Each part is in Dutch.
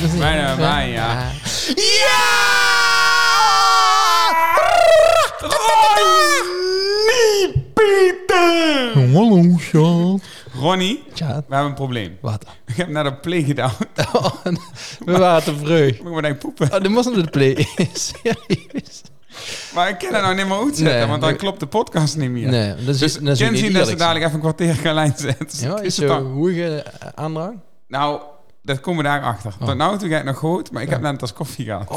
Mhm. Ja! Ronnie Pieter! Hallo, schat. Ronnie, Tja, we hebben een probleem. wat? Ik heb naar de play gedaan. we waren te vroeg. Ik moet maar denken poepen. Oh, dat moest naar de play. Serieus? Maar ik kan dat nou niet meer uitzetten, Nee, want dan nee. klopt de podcast niet meer. Nee, dat is Dus dat is Jen zien dat ze eerlijk. dadelijk even een kwartier gaan lijn zetten. Ja, Dus is het zo dan- hoege aandrang? Nou, dat komen we daarachter. Tot nu toe gaat het nog goed, maar ik Oh. Ja. heb net een tas koffie gehad.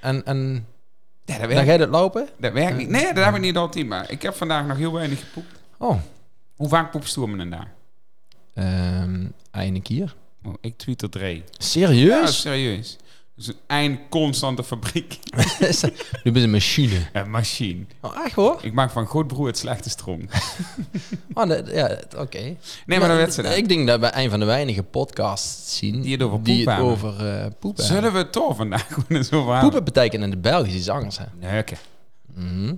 En, Oh. en Ja, dat dan werkt, ga je dat lopen? dat werkt niet. Nee, dat heb ik niet altijd, maar ik heb vandaag nog heel weinig gepoept. Oh, Hoe vaak poepst u om een dag? ehm een keer. Oh, ik tweet er drie. Ja, Serieus? serieus. Dus een eindconstante fabriek. nu ben je een machine. Een machine. Oh, echt hoor? Ik maak van goed broer het slechte stroom. Oh, dat- ja, dat- oké. Nee, maar dan werd ze dat. Ik denk dat we een van de weinige podcasts zien Die het over die poep het hebben. over eh, poepen hebben. Zullen we het toch vandaag gewoon eens over hebben? Poepen betekent in het Belgisch iets anders, hè? Neuken. Mhm.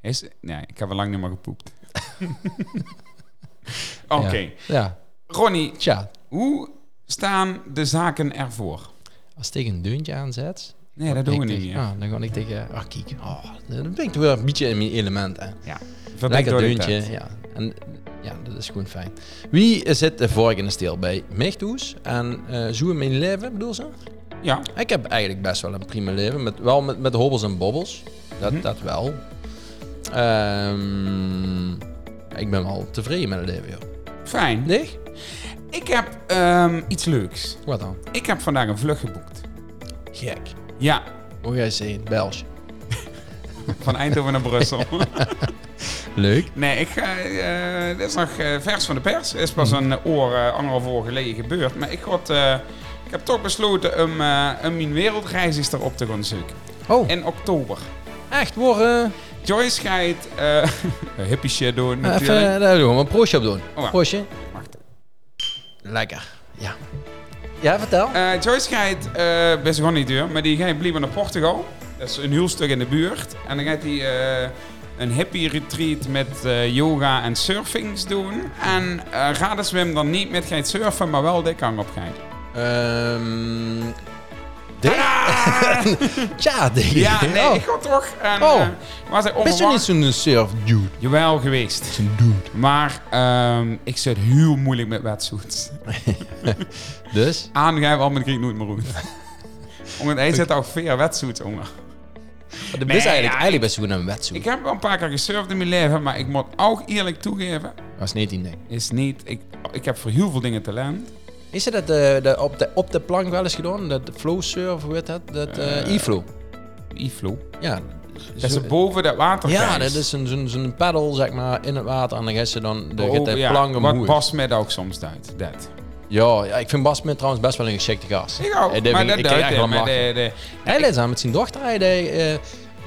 Is, nee, ik heb al lang niet meer gepoept. Oké. Ja. ja. Ronnie, Tja, hoe staan de zaken ervoor? als tegen een deuntje aanzet... Nee, dat dan doen we ik niet tegen- meer. ah, dan ga ik tegen... Ah, kijk. Oh, dan ben ik weer een beetje in mijn element, hè? Ja. Lekker door de deuntje, tijd. ja. En ja, dat is gewoon fijn. Wie zit de volgende stil bij? Mechtoes en eh Zoe Mijn Leven, bedoel ze? Ja, Ik heb eigenlijk best wel een prima leven, met, wel met, met hobbels en bobbels. Dat, Mhm. dat wel. Ehm, ik ben wel tevreden met het leven, joh. fijn. Nee? Ik heb ehm, iets leuks. Wat dan? Ik heb vandaag een vlucht geboekt. Gek. Ja, Hoe ga je zeggen? België. van Eindhoven naar Brussel. Leuk. Nee, ik ga, eh, dit is nog eh, vers van de pers. is pas een eh, oor, eh, anderhalf oor geleden gebeurd. Maar ik, had, eh, ik heb toch besloten om, eh, om mijn wereldreis eens erop te gaan zoeken. Oh, In oktober. echt? eh, Worden? Joyce gaat eh hippie shit doen natuurlijk. Eh, even, daar doen we een proostje op doen. Oh, ja. Proostje. Wacht. Lekker. Ja. Ja, vertel. Eh, Joyce gaat, eh best gewoon niet duur, maar die gaat blijven naar Portugal. Dat is een heel stuk in de buurt. En dan gaat hij eh, een hippie retreat met eh, yoga en surfings doen. En eh gaat de zwem dan niet met gaat surfen, maar wel de kang op gaat. Ehm. Dick? Tja, Dick. Ja, nee, Oh. ik ga toch. En, Oh. eh, was hij Bist je niet onverwacht? zo'n eh, surf dude? Jawel geweest. Zo'n dude. Maar ehm, ik zit heel moeilijk met wetsuits. Dus? Aangeven, al met Griek nooit meer uit. Omdat hij zit ook veel wetsuits onder. Dat is Nee, Dus eigenlijk, ja, eigenlijk best goed een wetsuit. Ik heb wel een paar keer gesurfd in mijn leven, maar ik moet ook eerlijk toegeven, was 19, denk ik. is niet. Ik, ik heb voor heel veel dingen talent. Is het dat eh, de, op, de, op de plank wel eens gedaan? Dat flow surf, hoe heet dat? Dat eh Eh, e-flow. Iflo. Ja. Dat ze Zo- boven dat water ja, gaan. dat is een- zo'n zo'n paddel zeg maar in het water en dan gaat ze dan de, Boven, de Oh, ja. plank Wat omhoog. past mij dat ook soms uit. Dat. Ja, ja, ik vind Bas Smit trouwens best wel een geschikte gast. Ik ook. Eh, dat maar vind dat ik- ik krijg echt duidt wel maar de- lachen. de- Hij leidt aan met zijn dochter. Hij deed, eh,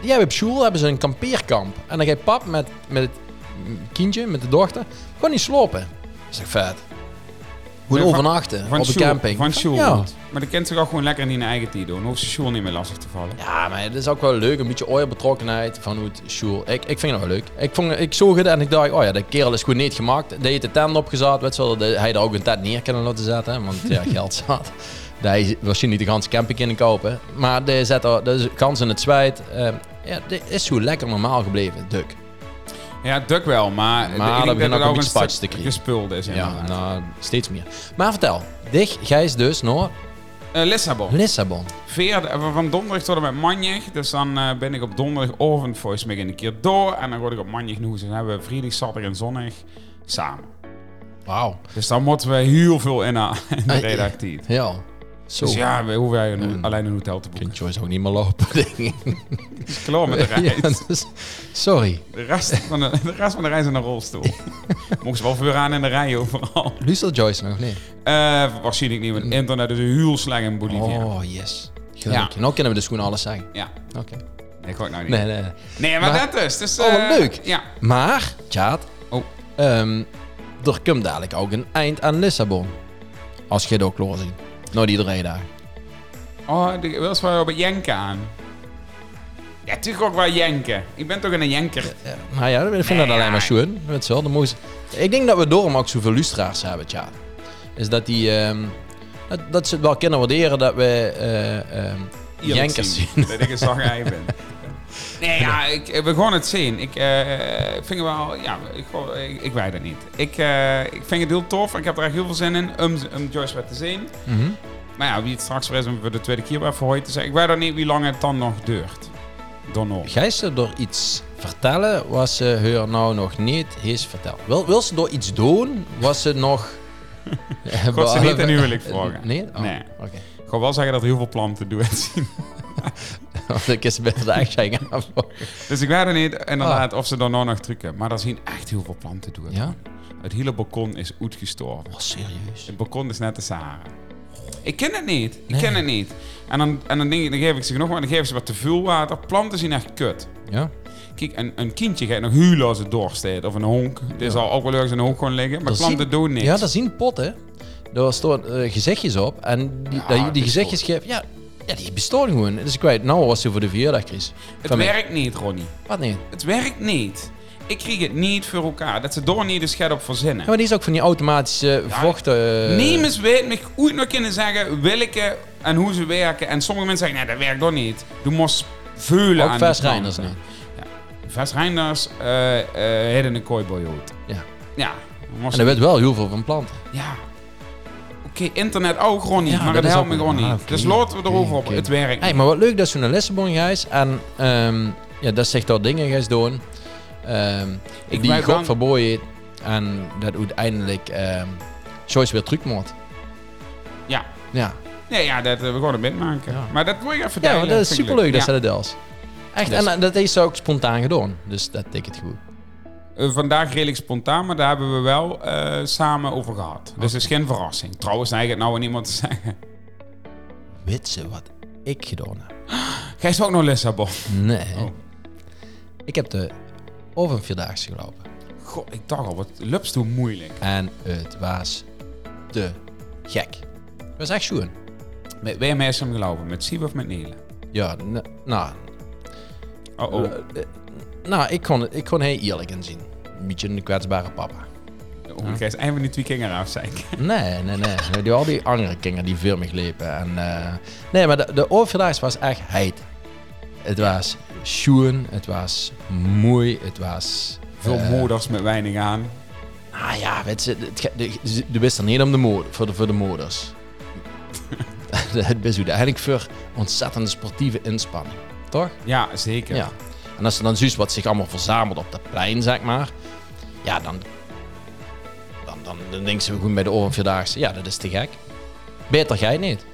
die hebben op school hebben ze een kampeerkamp. En dan gaat pap met, met het kindje, met de dochter, gewoon niet slopen. Dat is echt vet. Gewoon Nee, van- overnachten Van op een Sjoerd- camping. Van Sjoerd. ja. Maar dan kent zich ook gewoon lekker in hun eigen tijd doen. Hoeft ze Sjoerd niet meer lastig te vallen. ja, maar het is ook wel leuk. Een beetje ooit betrokkenheid van hoe het school. Ik, ik vind het wel leuk. Ik, vond, ik zag het en ik dacht, oh ja, de kerel is goed niet gemaakt. Die heeft de tent opgezet. Weet je wel, dat hij daar ook een tent neer kunnen laten zetten. hè, Want ja, geld zat. Hij waarschijnlijk niet de ganse camping kunnen kopen. Maar die zet er de kans in het zwijt. Eh, ja, dit is zo lekker normaal gebleven, Duk. Ja, duk wel, maar, Maar ik dat denk begint dat ook het ook een een spatje stuk te krijgen. gespeeld is. Ja, Ja, nou, steeds meer. Maar vertel, dich, Gijs dus naar Eh, Lissabon. Lissabon. Veer, eh, van donderdag tot en met mandag. Dus dan eh, ben ik op donderdagochtend volgens mij een keer door. En dan word ik op mandag nog eens. Dan hebben we vrijdag, zaterdag en zondag samen. Wauw. Dus dan moeten we heel veel in aan in de redactie. Ah, Ja. Zo. Dus ja, we hoeven eigenlijk een- alleen een hotel te boeken. Kind Joyce ook niet meer lopen, denk ik. Het is klaar met de reis. Ja, dus- sorry. De rest van de, de, rest van de reis in een rolstoel. Mocht ze wel voor aan in de rij overal. Luistert Joyce nog? Nee. Eh waarschijnlijk niet, want internet dus is heel slecht in Bolivia. Mm. Oh, yes. Gelukkig. Nou kunnen we dus gewoon alles zeggen. Ja, Oké. dat ga ik nou niet. Nee, nee. nee. Nee, maar, Maar- dat is. Dus, Oh, wat eh, leuk. Ja. Maar, Tjaat, Oh, ehm, er komt dadelijk ook een eind aan Lissabon. Als je het ook klaar ziet. Nooit iedereen daar. oh de, wil ze wel bij Jenken aan? Ja, natuurlijk ook wel Jenken. Ik ben toch een Jenker. Maar ja, ik vind dat Nee, alleen ja. maar schoon. Weet je wel, dan moest... Ik denk dat we daarom ook zoveel lustraars hebben, Tjaat. Is dat die... ehm, dat, dat ze het wel kunnen waarderen dat we... eh, ehm, eerlijk Jenkers zien. Dat ik een zagrij ben. Nee, ja, ik, eh, we gaan het zien. Ik eh, ik vind het wel... Ja, ik, go- ik, ik weet het niet. Ik, eh, ik vind het heel tof. Ik heb er echt heel veel zin in om, om Joyce weer te zien. Mhm. Maar ja, wie het straks weer is om voor de tweede keer weer verhooid te zijn. Ik weet dan niet wie lang het dan nog duurt. Dan nog. Gij ze door iets vertellen wat ze haar nou nog niet heeft verteld? Wil, wil ze door iets doen wat ze nog... God ze niet een huwelijk vragen. Nee? Oh, Nee. Oké. Ik ga wel zeggen dat er heel veel planten doen zien. Want ik is beter de eigenlijk gaan volgen. Dus ik weet er niet inderdaad of ze dan nou nog drukken. Maar daar zien echt heel veel planten doen. Ah. Ja? Het hele balkon is uitgestorven. Oh, serieus? Het balkon is net de Sahara. Ik ken het niet. Ik Nee. ken het niet. En dan, en dan, denk ik, dan geef ik ze nog maar, dan geef ik ze wat te veel water. Planten zien echt kut. Ja? Kijk, een, een kindje gaat nog huilen als het doorsteekt. Of een honk. Het is al ook wel ergens een honk gewoon liggen. Maar Dat planten zien- doen niks. Ja, dat zien potten. Daar staan eh, gezichtjes op. En die, Ja, dat je dat die is gezichtjes geeft... Ja, ja, die bestaan gewoon. Dus ik weet, nou was ze voor de vierdag, Chris. het Van mij. werkt niet, Ronnie. Wat niet? Het werkt niet. Ik kreeg het niet voor elkaar. Dat ze door niet de schet op verzinnen. Ja, maar die is ook van die automatische vochten... eh, Niemand weet me ooit nog kunnen zeggen welke en hoe ze werken. En sommige mensen zeggen, nee, dat werkt toch niet. Je moest veulen Ook aan Vers de klanten. Reinders niet. Ja. Vers Reinders eh, eh, hadden een kooiboy uit. Ja. Ja. moest- En er werd wel heel veel van planten. Ja. Oké, internet ook gewoon niet, Ja, maar dat het is helpt ook- me gewoon niet. ah, oké, dus laten we erover op. oké. Het werkt. Hey, maar wat leuk dat ze naar Lissabon gaat en ehm, ja, dat zich daar dingen gaat doen ehm, Ik die wou God dan- verboden en dat uiteindelijk ehm Joyce weer terug moet. Ja. Ja, Nee, ja, dat eh, we gewoon een bit maken. Ja. Maar dat wil je even ja maar delen, dat is vind ik superleuk Ja. dat ze dat deels. Echt, Dus- en eh, dat heeft ze ook spontaan gedaan, dus dat denk ik het goed. Eh, vandaag redelijk spontaan, maar daar hebben we wel eh, samen over gehad. Dus het is geen verrassing. Trouwens, nee, ik het nou aan iemand te zeggen. Weet ze wat ik gedaan heb? Gij is ook nog Lissabon. Nee. Oh. Ik heb de over een vierdaagse gelopen God, ik dacht al, wat lups toen moeilijk. en het was te gek. Het was echt schoon. Met wie is hem gelopen? Met Sieb of met Nele? Ja, n- nou, Oh, oh. Eh, eh, nou, ik kon, ik kon heel eerlijk in zien. Een beetje een kwetsbare papa. eh. oh Gij is eind van die twee kingen eraf, zei ik. Nee, nee, nee. Die, al die andere kinderen die veel meer glepen. En, eh, nee, maar de, de overdag was echt heid. Het was schoen, het was mooi, het was... Veel eh, moeders met weinig aan. Nou ja, weet je, het, ge- de- ze- de wist er niet om de mo- voor, de, voor de moders. het is eigenlijk voor ontzettende sportieve inspanning, toch? Ja, zeker. Ja. En als er dan zoiets wat zich allemaal verzamelt op dat plein, zeg maar. Ja, dan... Dan, dan, dan denken ze goed bij de oren vierdaagse. Ja, dat is te gek. Beter gij niet.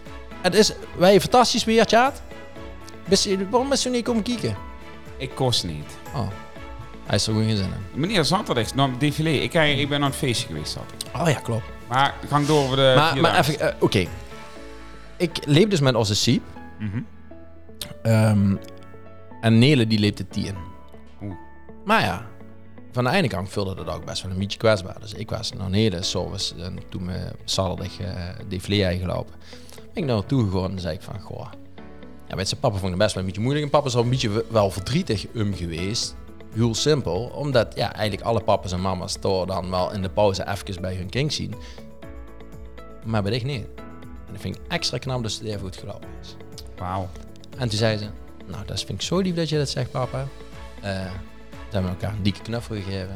Het is... Wij een fantastisch weer, Tjaat. Bist je- Waarom is je niet komen kijken? Ik kost niet. Oh. Hij is er gewoon geen zin in. Meneer Zaterdag, nou, het défilé. Ik, kijk, ik ben aan het feestje geweest, zat. Oh ja, klopt. Maar gang door over de. maar, maar vierdaagse. even... eh, Oké. Ik leef dus met onze Siep. Mhm. Ehm, en Nele, die leefde tien. Oeh. Maar ja, van de ene kant vulde dat ook best wel een beetje kwetsbaar. Dus ik was naar Nele, s'avonds, en toen we zaterdag eh defilé gelopen. Ben ik naar haar toe gegaan en zei ik van, goh... Ja, weet je, papa vond het best wel een beetje moeilijk. En papa is al een beetje w- wel verdrietig um geweest. Heel simpel, omdat ja, eigenlijk alle papa's en mama's toch dan wel in de pauze even bij hun kind zien. Maar bij dich niet. En dat vind ik extra knap dat ze het even goed gelopen is. Wauw. En toen zei ze, nou dat vind ik zo lief dat je dat zegt papa. Eh toen hebben we elkaar een dikke knuffel gegeven.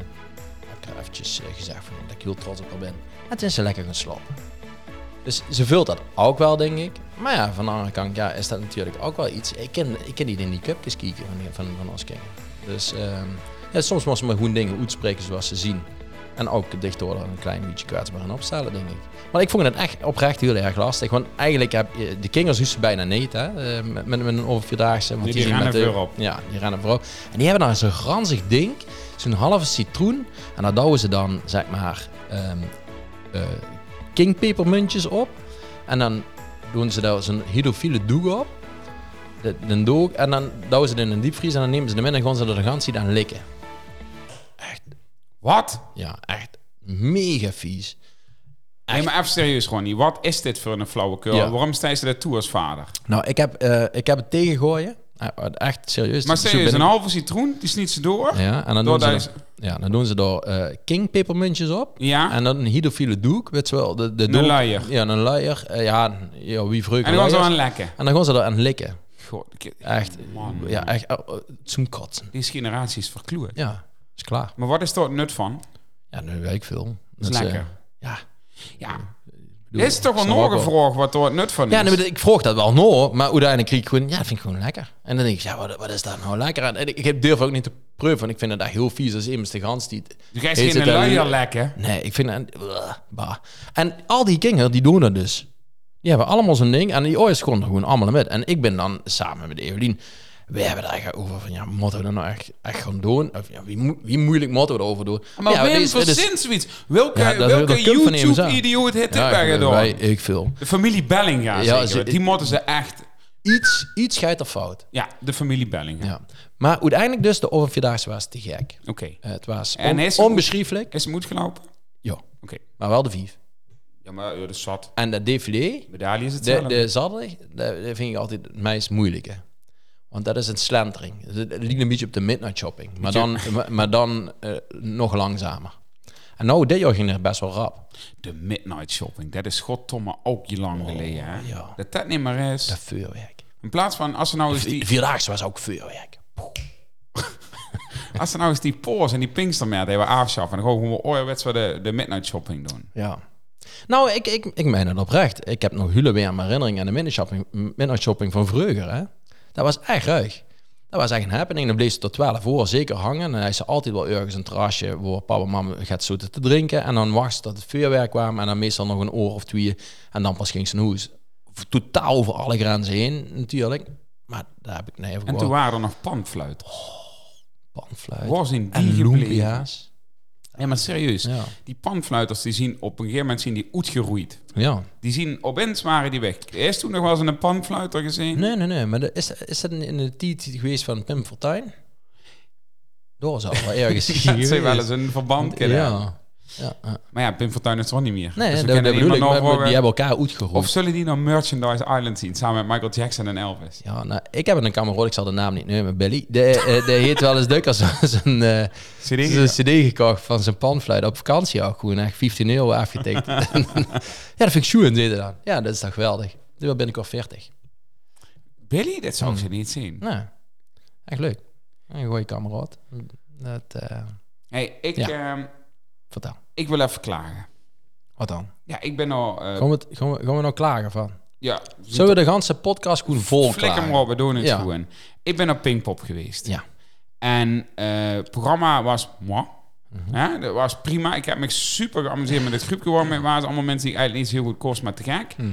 Heb ik haar eventjes eh, gezegd van, dat ik heel trots op haar ben. En toen is ze lekker gaan slapen. Dus ze vult dat ook wel, denk ik. Maar ja, van de andere kant ja, is dat natuurlijk ook wel iets. Ik ken, ik ken niet in die cupjes kieken van, die- van, van ons kinderen. Dus ehm, ja, soms moest ze maar gewoon dingen uitspreken zoals ze zien. En ook dicht door er een klein beetje kwetsbaar aan opstellen, denk ik. Maar ik vond het echt oprecht heel erg lastig. Want eigenlijk heb je de kinders hoesten ze bijna niet, hè? eh, Met, met met een overvierdaagse. want Die- die zien rennen met de- voorop. Ja, die rennen voorop. En die hebben dan zo'n ranzig ding, zo'n halve citroen. En daar douwen ze dan, zeg maar, ehm eh, kingpepermuntjes op. En dan doen ze daar zo'n hydrofiele doek op. De, de doek. En dan douwen ze het in een diepvries. En dan nemen ze hem in en gaan ze er de gansie aan likken. Wat? Ja, echt mega vies. Nee, maar even serieus, Ronnie. Wat is dit voor een flauwekul? Ja. Waarom sta je ze dat toe als vader? Nou, ik heb, eh, ik heb het tegengooien. Eh, Echt serieus. Maar Zo serieus, een ben ik- halve citroen, die sniet ze door. Ja, en dan door doen, ze daar er, is- ja, dan doen ze er eh kingpepermuntjes op. Ja. En dan een hydrofiele doek, weet je wel. De, de doek- luier. Ja, een luier. Eh, ja, ja, wie vreugde En dan gaan ze luiers. aan lekken. En dan gaan ze er aan likken. God, ik- Echt, Man. ja, echt, eh, eh, zo'n kotsen. Deze generatie is verkloeid. Ja, is klaar. Maar wat is er het nut van? Ja, nu weet ik veel. Dat is eh, lekker. ja. Ja. bedoel, Er is toch wel snap nog ik een vraag wat er het nut van is? Ja, nee, maar ik vroeg dat wel nog, maar uiteindelijk kreeg ik gewoon, ja, dat vind ik gewoon lekker. En dan denk ik, ja, wat, wat is daar nou lekker aan? En ik, ik durf ook niet te proeven, want ik vind het echt heel vies als iemand de gans die... Dus jij is Is geen het een- luier lekker. Nee, ik vind... En, bah. en al die kinderen, die doen dat dus. Die hebben allemaal zo'n ding en die ooit konden gewoon allemaal met. En ik ben dan samen met Evelien... We hebben daar echt over van, ja, moeten we dat nou echt, echt gaan doen? Of, ja, wie, moet- wie moeilijk moeten we erover doen? Maar ja, Wim dit is- dit is- verzint zoiets. Welke, Ja, dat- dat welke kunt van iemand YouTube-idioot heeft dit Nou Ja, bij ik, gedaan? wij- ik veel. De familie Bellinga, Ja, zeker. ze- die moeten ze echt... Iets, iets gaat er fout. Ja, de familie Bellinga. Ja. Maar uiteindelijk dus, de overvierdaagse was te gek. Oké. Eh, het was En on- is het- onbeschrijfelijk. Is het moed gelopen? Oké. Ja, maar wel de vief. Ja, maar ja, dat is zat. En dat défilé, Medaille is de, hetzelfde. de zaterdag, dat dat vind ik altijd het meest moeilijke. Want dat is een slentering. Het- Het liep een beetje op de midnight shopping. Maar dan, maar- maar dan eh, nog langzamer. En nou, dit jaar ging er best wel rap. De midnight shopping. Dat is godtomme ook je lang geleden, hè? Oh, ja. Dat dat niet meer is. Dat vuurwerk. In plaats van, als er nou eens De die, Vierdaagse was ook vuurwerk. als er nou eens die Poors en die Pinkstermeer hebben afschaffen... en dan gewoon gewoon ouderwets weer de, de midnight shopping doen. Ja. Nou, ik, ik, ik meen het oprecht. Ik heb nog hulen weer aan mijn herinnering aan de midnight shopping, midnight shopping van vroeger. Hè? Dat was echt ruig. Dat was echt een happening. Dan bleef ze tot 12 uur zeker hangen. En dan is ze altijd wel ergens een terrasje waar papa en mama gaat zoeten te drinken. En dan wacht ze tot het vuurwerk kwam. En dan meestal nog een oor of twee. En dan pas ging ze naar huis. V- Totaal over alle grenzen heen natuurlijk. Maar daar heb ik nee over En toen waren er nog panfluiten. Panfluit. Waar zijn die En gebleven? lumpia's. Ja, maar serieus. Ja. Die panfluiters die zien op een gegeven moment zien die uitgeroeid. ja. Die zien opeens waren die weg. Eerst toen nog wel eens een panfluiter gezien. Nee, nee, nee. Maar de- is, is dat in de tijd geweest van Pim Fortuyn? Door zou wel ergens Dat geweest. ze wel eens een verband Ja. kennen. ja. ja. Maar ja, Pim Fortuyn is toch niet meer. Nee, Dus we dat, kennen dat bedoel ik. niemand maar- maar over- die hebben elkaar uitgeroepen. Of zullen die nou Merchandise Island zien samen met Michael Jackson en Elvis? Ja, nou, ik heb een kamerad, ik zal de naam niet nemen, Billy. De, eh, de heet wel eens Duk als een eh, CD? zo'n cd gekocht van zijn panfluit op vakantie ook gewoon echt 15 euro afgetikt. ja, dat vind ik schoen, zei hij dan. Ja, dat is toch geweldig. Nu ben ik al 40. Billy, dat zou ik ze niet zien. Nou, echt leuk. Een goeie kamerad. Dat, eh, hey, ik, ehm, vertel. ik wil even klagen. Wat dan? Ja, ik ben al... eh, Gaan we, het- gaan, we, gaan we nou klagen van? ja, Zullen we de ganse podcast goed vol Flik hem klagen? op, we doen het Ja. gewoon. Ik ben op Pinkpop geweest. Ja. En eh, het programma was moi. Mhm. Hè, dat was prima. Ik heb me super geamuseerd met het groepje. waar Het waren allemaal mensen die ik eigenlijk niet zo heel goed kost, maar te gek. Mhm.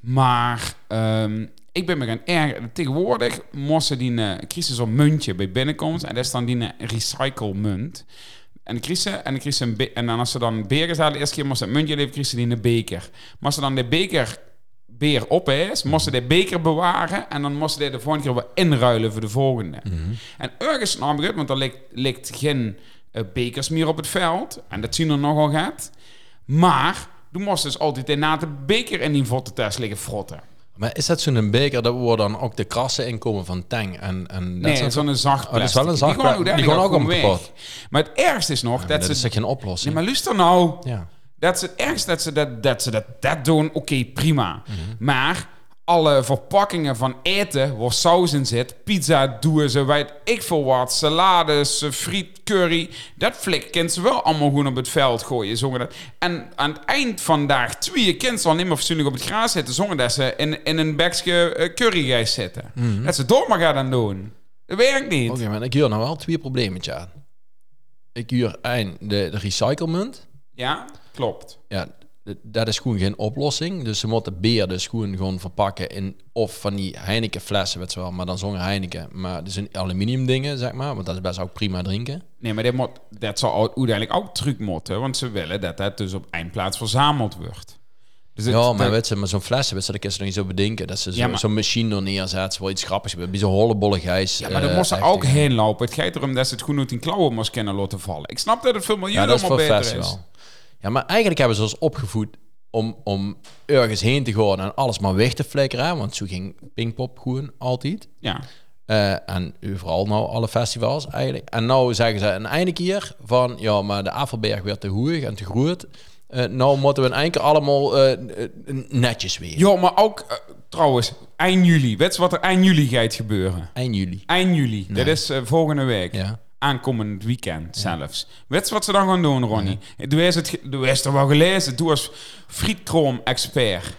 Maar ehm, ik ben me gaan ergeren. Tegenwoordig moesten die eh, een crisis op muntje bij binnenkomst. En dat is dan die een recycle munt. En de kriezen, en de kriezen een be- en dan als ze dan beren zaten, de eerste keer moest ze het muntje leven, kriezen die in de beker. Maar als ze dan de beker beer op is, moesten de beker bewaren en dan moesten ze de volgende keer weer inruilen voor de volgende. En ergens nam ik het, want er ligt, ligt geen eh, bekers meer op het veld en dat zien er nogal gaat. Maar toen moesten dus altijd daarna de beker in die votte test liggen frotten. Maar is dat zo'n beker dat we dan ook de krassen inkomen van Tang en, en dat Nee, soort- zo'n zacht plastic. Oh, dat is wel een zacht Die gewoon, pla- die uiteindelijk gewoon ook gewoon om weg. Maar het ergste is nog dat dat, is ze... toch geen Nee, oplossing? maar luister nou. Ja. Dat ze het ergste dat ze dat, dat, ze dat, dat doen, oké, prima. Mhm. Maar alle verpakkingen van eten, waar saus in zit, pizza, doezen, weet ik veel wat, salades, eh, friet, curry, dat flik kunnen ze wel allemaal gewoon op het veld gooien. Zongen dat. En aan het eind van dag twee kind ze al niet meer fatsoenlijk op het gras zitten, zongen dat ze in, in een bekje eh, curry gaan zitten. Dat ze door maar gaan dan doen. Dat werkt niet. Mhm. Oké, maar ik huur nou wel twee problemen aan. Ik huur één, de, de recyclemunt. Ja, klopt. Ja, d- dat is gewoon geen oplossing. Dus ze moeten beer dus gewoon, gewoon verpakken in of van die Heineken flessen, weet je wel, maar dan zonder Heineken. Maar dus in aluminium dingen, zeg maar, want dat is best ook prima drinken. Nee, maar dit moet, dat zal ook- uiteindelijk ook truc moeten, want ze willen dat dat dus op eindplaats verzameld wordt. Dus het- Ja, maar dat- weet ze, maar zo'n flessen, weet ze, dat kun je nog niet zo bedenken. Dat ze zo- Ja, maar- zo'n machine er neerzet, wel iets grappigs. Bij zo'n hollebolle gijs. ja, maar dat eh, moest er echt, ook eh, heen lopen. Het gaat erom dat ze het goed uit die klauwen moest kunnen laten vallen. Ik snap dat het veel miljoen Ja, dat is allemaal voor beter flessen is. wel. Ja, maar eigenlijk hebben ze ons opgevoed om, om ergens heen te gaan en alles maar weg te flikkeren. hè, Want zo ging Pinkpop gewoon altijd. Ja. Eh, en vooral nou alle festivals eigenlijk. En nou zeggen ze een einde keer van, ja, maar de Avelberg werd te hoeig en te groot. Eh, eh, nou moeten we in één keer allemaal eh, eh, netjes weer. Ja, maar ook eh, trouwens, eind juli. Weet je wat er eind juli gaat gebeuren? Eind juli. Eind juli. Dat is eh, volgende week. Ja. Aankomend weekend zelfs. Weet je wat ze dan gaan doen, Ronnie? Eh, Doe eens het, ge- doe eens er wel gelezen. Doe als frietkroom-expert.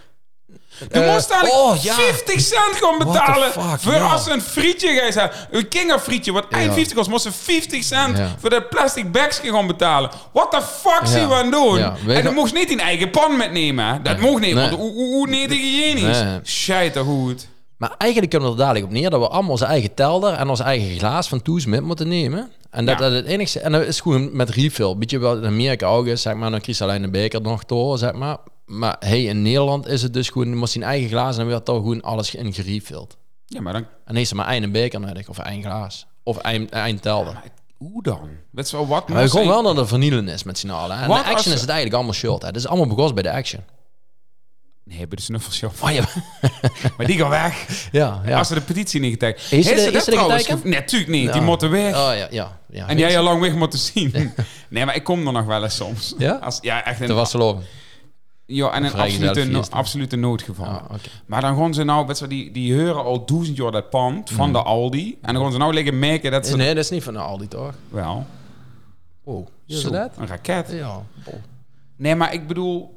Je Eh, moest eigenlijk oh, ja. 50 cent gaan the betalen fuck, voor ja. als ze een frietje gaan zijn. Een kinderfrietje, wat 51 kost, moesten 50 cent Ja. voor dat plastic bagje gaan betalen. What the fuck zien we aan doen? Ja, weet En je- dan moest niet in eigen pan metnemen. hè. Dat mocht niet, Nee. want hoe- hoe hoe niet hygiënisch? Nee. Scheiter goed. Maar eigenlijk kunnen we er dadelijk op neer dat we allemaal onze eigen telder en ons eigen glaas van Toes met moeten nemen. En dat, Ja. dat het enigste. En dat is gewoon met refill. Beetje wel in Amerika ook is, zeg maar. Dan kiest alleen de beker nog door, zeg maar. Maar hey, in Nederland is het dus gewoon. Je moet zijn eigen glaas en dan werd toch gewoon alles in gerefilled. Ja, maar dan... En heeft ze maar één beker nodig, of één glaas. Of één, één telder. Hoe dan? Weet je wel wat? Maar we moest gaan ik- wel naar de vernielen is met z'n allen. hè. En Wat de als action ze- is het eigenlijk allemaal short. Hè. Het is allemaal begonnen bij de action. Nee, bij de snuffelshop. Oh ja, Maar die gaan weg. ja. ja. Als ze de petitie niet getekend. Is ze Heeft de- ze is dat ze de trouwens getekend? ge- Nee, natuurlijk niet. Die Ja. moeten weg. Oh ja, ja. ja. En jij al lang weg moeten zien. Nee, maar ik kom er nog wel eens soms. Ja? Als, ja, echt Dat een, was verloren. ja, en een vrijgezellen absolute, no- fiesta. absolute noodgeval. Ah, oké. Maar dan gaan ze nou, weet je, wel, die, die huren al duizend jaar dat pand Mm. van de Aldi. En dan gaan ze nou liggen merken dat ze... Nee, dat is niet van de Aldi, toch? Wel, Oh, zo, een raket. Ja. Nee, maar ik bedoel...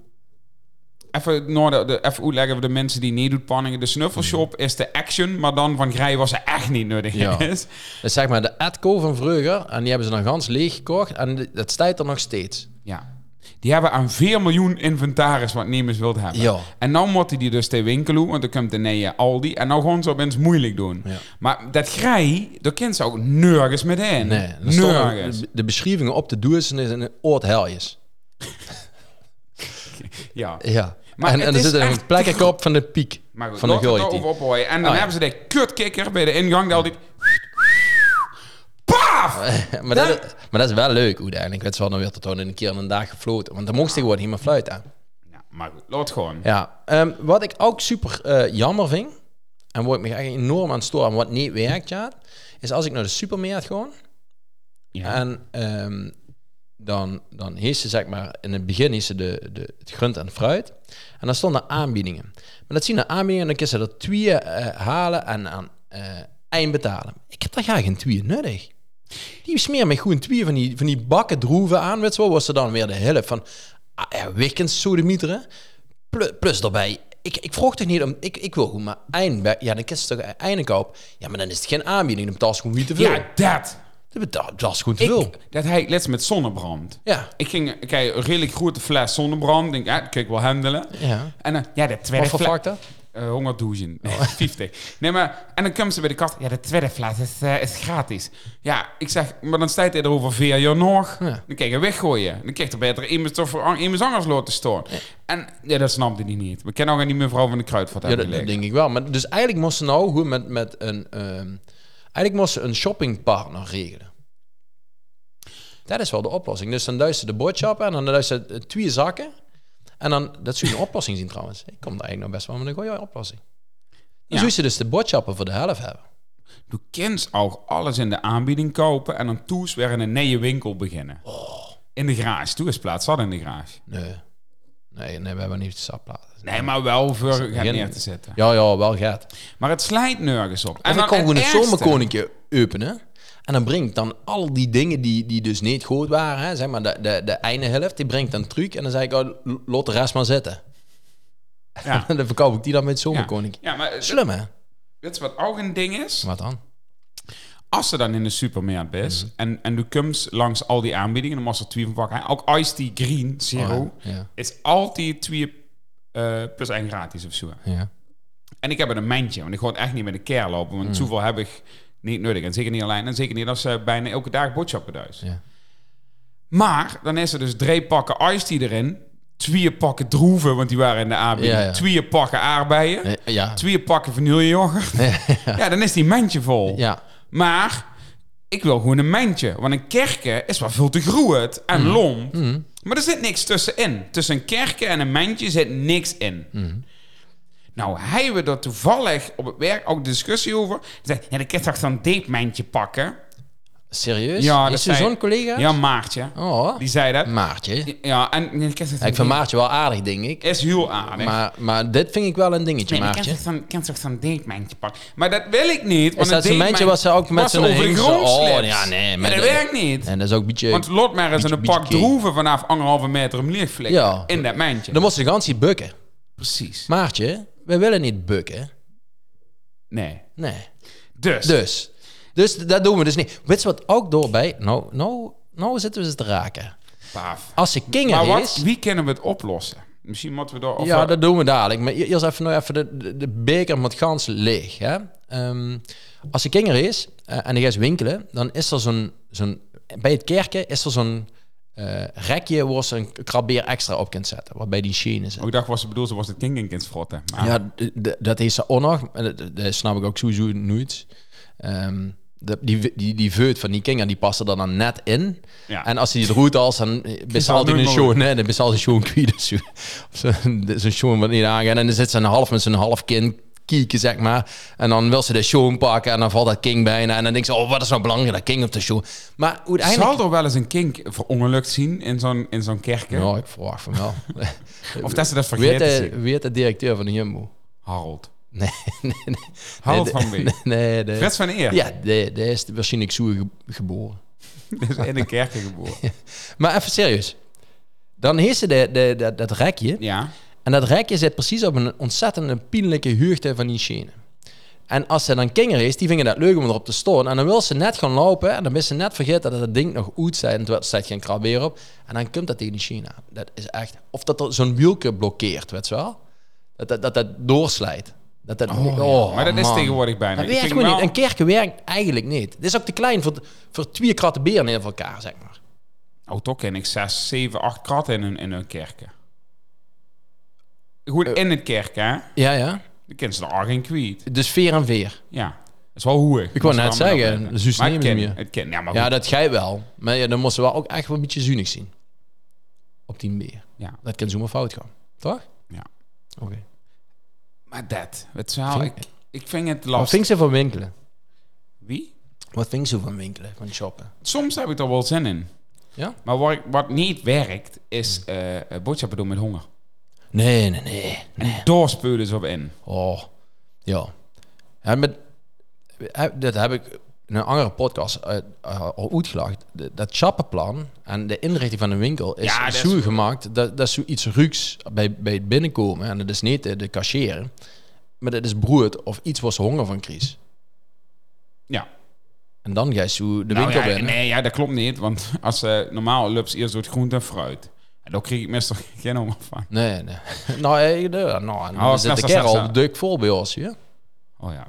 Even, nou, de, de, even uitleggen voor de mensen die niet doen panningen. De snuffelshop is de action, maar dan van Grij was ze echt niet nodig Ja. is. Dus zeg maar de Adco van vroeger, en die hebben ze dan gans leeg gekocht, en die- dat staat er nog steeds. Ja. Die hebben aan 4 miljoen inventaris wat nemers wilt hebben. Ja. En nou moeten die dus te winkelen, want dan komt de nee Aldi. En nou gewoon zo opeens moeilijk doen. Ja. Maar dat grij, daar kent ze ook nergens met in. Nee, dan stonden nergens. de- de beschrijvingen op de doos en is een oud heljes. Ja. Ja. Maar en het en er is zit echt een plekje op van de piek Maar goed, van de laten we het gooi. over ophouden. En dan Ah, ja. hebben ze die kutkikker bij de ingang die altijd... Paf! maar, dat, maar dat is wel leuk uiteindelijk. Weet je wel, dan werd het gewoon een keer in een dag gefloten. Want dan mocht hij gewoon niet meer fluiten. Ja, maar goed, laat gewoon. Ja, ehm, wat ik ook super eh, jammer vind, en waar ik me echt enorm aan stoor en wat niet werkt, ja, is als ik naar de supermarkt ga Ja. en ehm, dan, dan heet ze zeg maar, in het begin heet ze de, de, het grunt en fruit en dan stonden aanbiedingen. Maar dat zien de aanbiedingen en dan kun ze er twee eh, halen en aan eh eind betalen. Ik heb daar graag een twee nodig. Die smeer me gewoon twee van die, van die bakken droeven aan, weet je wel, was ze dan weer de helft van ah, ja, Wikkens, sodemieteren. Plus, plus daarbij, ik, ik vroeg toch niet om, ik, ik wil gewoon maar eind, bij- ja, dan kun je toch eindelijk op. Ja, maar dan is het geen aanbieding, dan betaal je gewoon niet te veel. Ja, dat. Dat betaal- dat is gewoon te veel. Ik, dat hij let's met zonnebrand. Ja. Ik ging, ik had een redelijk grote fles zonnebrand. Denk, ja, dat kan ik wel handelen. Ja. En dan, ja, de tweede Wat voor Oh. fles... factor? eh 100 douchen. Nee, 50. Nee, maar... En dan komen ze bij de kast. Ja, de tweede fles is, eh, is gratis. Ja, ik zeg... Maar dan staat hij er over vier jaar nog. Ja. Dan kijk je weggooien. Dan krijg je beter iemand toch voor iemand anders laten staan. En ja, dat snapte hij niet. We kennen ook aan die mevrouw van de Kruidvat Ja, hebben dat, dat gelegen. denk ik wel. Maar dus eigenlijk moesten ze nou gewoon met, met een, ehm, eigenlijk moesten ze een shoppingpartner regelen. Dat is wel de oplossing. Dus dan duist ze de boodschappen en dan duist ze eh, twee zakken. En dan, dat zou je een oplossing zien trouwens. Ik kom daar eigenlijk nog best wel met een goede oplossing. Ja. Dan zou ze dus de boodschappen voor de helft hebben. Doe kins ook alles in de aanbieding kopen en dan toes weer in een nieuwe winkel beginnen. In de garage. Toen is plaats zat in de garage. Oh. Nee. Nee, nee we hebben niet sapplaten. Nee, maar wel voor het begin- neer te zetten. Ja, ja, wel gaat. Maar het slijt nergens op. En dan kan het gewoon het ergste- zomerkoninkje openen. En dan brengt dan al die dingen die, die dus niet goed waren, hè, zeg maar de, de, de ene helft, die brengt dan truc. En dan zei ik, oh, lot de rest maar zitten. Ja. En dan verkoop ik die dan met het Ja. zomerkoninkje. Ja, maar Slim hè? Weet je wat ook een ding is? Wat dan? Als ze dan in de supermarkt is Mhm. en, en de comes langs al die aanbiedingen, dan was er twee van pakken. Ook Ice Tea Green Zero Oh, Ja. is altijd twee eh, plus één gratis of zo. ja. En ik heb een mandje, want ik gewoon echt niet met een keer lopen, Mm. want zoveel heb ik niet nodig. En zeker niet alleen, en zeker niet als ze bijna elke dag boodschappen thuis. Ja. Maar dan is er dus drie pakken Ice Tea erin, twee pakken droeven, want die waren in de aanbieding, Ja, ja. twee pakken aardbeien, Eh, Ja. twee pakken vanillejoghurt. Ja. dan is die mandje vol. Ja. Maar ik wil gewoon een mandje. Want een kerken is wel veel te groeit Mm. en lomp. Maar er zit niks tussenin. Tussen een kerken en een mandje zit niks in. Mm. Nou, hij we er toevallig op het werk ook discussie over. Hij zegt, ja, dan kan je toch zo'n deepmandje pakken? Serieus? Ja, dat Is u zei- zo'n collega? Ja, Maartje. Oh, Die zei dat. Maartje. Ja, en ik ken ze Ik vind Maartje wel aardig, denk ik. is heel aardig. Maar, maar dit vind ik wel een dingetje, Nee, maar ik Maartje. ken toch zo'n- ken toch zo'n denkmijntje pakken. Maar dat wil ik niet. Want Is dat een zo'n meintje wat ze ook met was zo'n over de hengst- grond Oh, slept. ja, nee, Maar met dat de- werkt niet. En dat is ook een beetje... Want Lotmer is in een beetje pak gay. droeven vanaf anderhalve meter hem licht flikken. Ja. In dat mijntje. Dan moest ze de ganse tijd bukken. Precies. Maartje, we willen niet bukken. Nee. Nee. Dus. Dus. Dus dat doen we dus niet. Weet je wat ook doorbij... Nou, nou, nou zitten we ze te raken. Paaf. Als ze Maar kinger wat, is... wie kunnen we het oplossen? Misschien moeten we door... of Ja, we- dat doen we dadelijk. Maar e- eerst even, nou even de, de, de beker met gans leeg. Hè? Ehm, als de kinger is eh, en die gaat winkelen, dan is er zo'n... zo'n bij het kerken is er zo'n eh, rekje waar ze een krabbeer extra op kunt zetten. Waarbij die Chinezen. Oh, ik dacht, wat ze bedoelde, was het kinkinkind frotten. Maar Ja, d- d- dat is ze ook nog. En Dat, dat- dat snap ik ook sowieso nooit. Ehm, dat- die, die, die veut van die kinger, die passen er dan net in. Ja. En als hij het roet als, dan is dat altijd nooit een show. mogelijk. Nee, dan is altijd zo'n kwiet of zo. Of zo'n- Zo'n show wat niet aangaan. En dan zit ze een half met zijn half kin kieken, zeg maar. En dan wil ze de show pakken en dan valt dat king bijna. En dan denkt ze, oh, wat is nou belangrijk, dat king op de show. Maar uiteindelijk... Zal er wel eens een kink verongelukt zien in zo'n, in zo'n kerken? Ja, ik verwacht van wel. Of dat ze dat Weet vergeten de, zien? weet de directeur van de Jumbo? Harold. Nee, nee, nee. Harold Nee, van de- Beek. Nee, nee. Frits van Eer. Ja, die, die is waarschijnlijk zo ge- geboren. Die is in een kerken geboren. Maar even serieus. Dan heeft ze de, de, dat- dat rekje. Ja. En dat rekje zit precies op een ontzettende pijnlijke huurte van die Chene. En als ze dan kinger is, die vinden dat leuk om erop te storen. En dan wil ze net gaan lopen. En dan is ze net vergeten dat het ding nog oud zijn. En toen staat geen krab weer op. En dan komt dat tegen die China. Dat is echt... Of dat er zo'n wielke blokkeert, weet je wel? Dat dat, dat, dat doorslijt. Dat dat, oh, maar dat is man. tegenwoordig bijna. Dat Ik werkt vind gewoon niet. wel- Een kerken werkt eigenlijk niet. Het is ook te klein voor, voor twee kratten beren in elkaar, zeg maar. Oh, toch ken ik zes, zeven, acht kratten in een, in een kerken. Eh. Goed, in het kerk, hè? Ja, ja. Dan kennen ze de ar geen kwiet. Dus veer en veer. Ja. Dat is wel hoeig. Ik wou Moet net ze wel mee zeggen, opletten. dus Maar nemen het ze ken, meer. het ken. Ja, maar Ja, goed. dat gij wel. Maar ja, dan moesten we wel ook echt wel een beetje zuinig zien. Op die beer. Ja. Dat kan zomaar fout gaan. Toch? Ja. Oké. Maar dat. Het zou, ik, Vind- ik vind het Wat lastig. ving ze van winkelen? Wie? Wat ving ze van winkelen? Van shoppen? Soms heb ik er wel zin in. Ja? Maar wat, ik- wat niet werkt, is eh eh, boodschappen doen met honger. Nee, nee, nee. nee. Doorspulen ze op in. Oh. Ja. En met, heb- dat heb ik in een andere podcast eh, eh, al uitgelegd. De- Dat shoppenplan en de inrichting van een winkel is Ja, dat is- zo gemaakt. Dat, dat is zoiets ruks bij, bij het binnenkomen. En dat is niet eh, de cashier. Maar dat is brood of iets was honger van Chris. Ja. En dan ga je zo de Nou winkel ja, binnen. nee, ja, dat klopt niet. Want als, eh, normaal loopt ze eerst door het groente en fruit. En daar kreeg ik meestal geen honger van. Nee, nee. nou, eh, de- nou, en Oh, snap, dan zit snap, de snap, kerel snap. dik vol bij ons. Ja? Oh ja.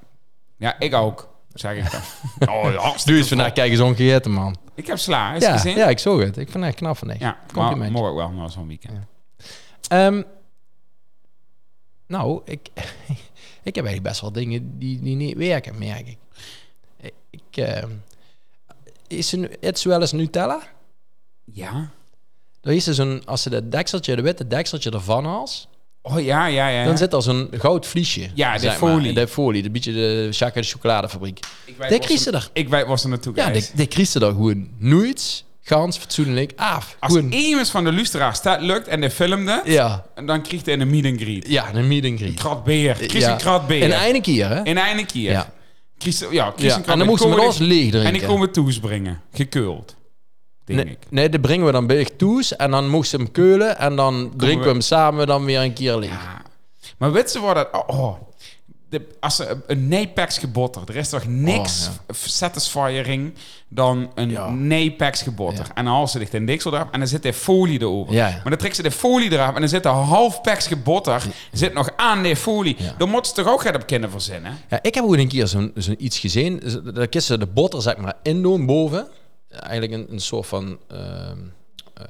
Ja, ik ook. Zeg ik dan. Oh, ja, Nu hartstikke is vandaag, kijk eens ongegeten, man. vol. Ik heb sla, is Ja, gezien? ja, ik zag het. Ik vind het knap van nee. Ja, maar Complimentje. morgen wel, maar zo'n weekend. Ehm, nou, ik, ik heb eigenlijk best wel dingen die, die niet werken, merk ik. ik ehm, is een, het is wel eens Nutella? Ja? Dan is er zo'n, als ze dat dekseltje, de witte dekseltje ervan haalt, Oh ja, ja, ja. dan zit er zo'n goud vliesje. Ja, de zeg maar. folie. De folie, een beetje de Jacques de chocoladefabriek. ik De kriezen er. Ik weet was er naartoe, Ja, guys. de, de kriezen er gewoon nooit, gans, fatsoenlijk, af. Als Gewoon, iemand van de luisteraars dat lukt en de filmde, ja, en dan kreeg hij een meet and greet. ja, een meet and greet. Kratbeer. Chris Ja. een kratbeer. In einde keer, hè? In einde keer. Ja. Chris, ja, Chris Ja, een en dan kratbeer. moesten we Komen alles die- leeg drinken. En die komen toesbrengen. Gekeuld. Denk nee, ik. nee, die brengen we dan bij ik toes en dan moesten ze hem keulen en dan drinken we we- hem samen dan weer een keer leeg. Ja. Maar weet ze wat dat... Oh, oh. De, als ze een- een Napex gebotter, er is toch niks Oh, f- satisfying dan een Ja. Napex gebotter. Ja. En dan haal ze dicht een diksel eraf en dan zit de folie erover. Ja. Maar dan trekt ze de folie eraf en dan zit de half packs gebotter zit nog aan de folie. Ja. Dan moet ze toch ook gaan op kunnen verzinnen? Ja, ik heb ook een keer zo'n zo'n iets gezien. Z- Daar kisten ze de botter zeg maar in doen boven. Eigenlijk een, een soort van... ehm eh,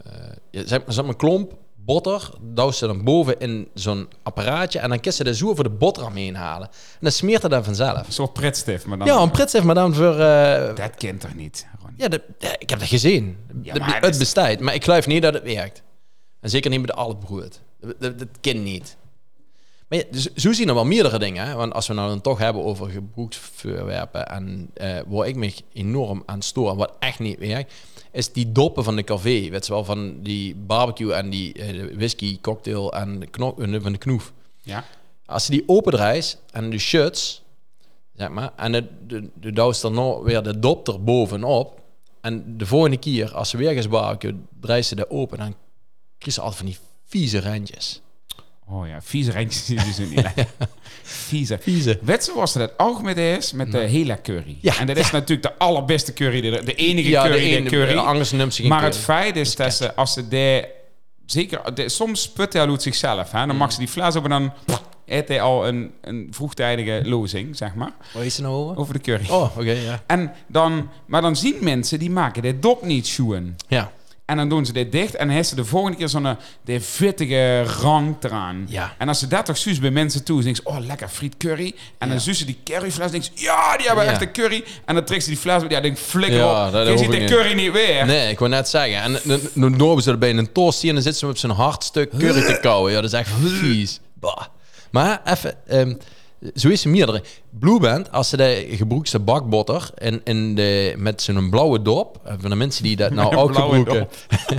ja, zeg, maar, zeg maar een klomp botter. Douw ze dan boven in zo'n apparaatje. En dan kisten ze de zoer voor de boterham heen halen. En dan smeert het dan vanzelf. Een soort pretstift, maar dan... Ja, een pret zeg maar dan voor... eh, Dat kent toch niet, Ronnie? ja, dat- ja, ik heb dat gezien. Ja, Dat- maar het dat is- bestaat. Maar ik geloof niet dat het werkt. En zeker niet met de alle brood. Dat, dat, dat kan niet. Maar ja, dus zo zien er wel meerdere dingen. Hè? Want als we nou dan toch hebben over gebroeksverwerpen en eh waar ik me enorm aan stoor en wat echt niet werkt, is die doppen van de café. Weet je wel, van die barbecue en die eh, whisky cocktail en de, kno- en van de knoef. Ja. Als je die opendraait en de shuts, zeg maar, en de, de, de douwt er nog weer de dop er bovenop. En de volgende keer, als ze weer gaan barbecue, draait ze de open, dan krijg ze altijd van die vieze randjes. Oh ja, vieze rijtjes die zijn niet lekker. Vieze. Vieze. Weet je zoals dat algemeen is met de hele curry? Ja, en dat is natuurlijk de allerbeste curry, die er- de enige Ja, de curry, die ene er curry. Anders neemt ze geen Maar keer. het feit is dat ze, als ze de, zeker, de, soms put hij uit zichzelf. Mm. Hè? Dan mag ze die fles op en dan eet hij al een, een vroegtijdige lozing, zeg maar, Waar is het nou over? over de curry. Oh, oké, ja. En dan, maar dan zien mensen, die maken dit dop niet schoen. Ja, En dan doen ze dit dicht en dan heeft ze de volgende keer zo'n eh, de vettige rank eraan. Ja. En als ze dat toch zuus bij mensen toe, dan denken ze, oh lekker friet curry. En dan zuus ze die curryfles, denken ze, ja, die hebben Ja. echt een curry. En dan trekt ze die fles, ja, denk flikker Ja, op. dat Je hoef ziet ik de niet. curry niet weer. nee, ik wou net zeggen. En dan- dan doorben ze er bij een toast en dan zitten ze op zijn hard stuk curry te kauwen. Ja, dat is echt vies. Bah. Maar even, ehm, zo is er meerdere. Blue Band, als ze de gebroekste bakbotter in, in de, met zo'n blauwe dop, eh, van de mensen die dat nou een ook blauwe gebroeken,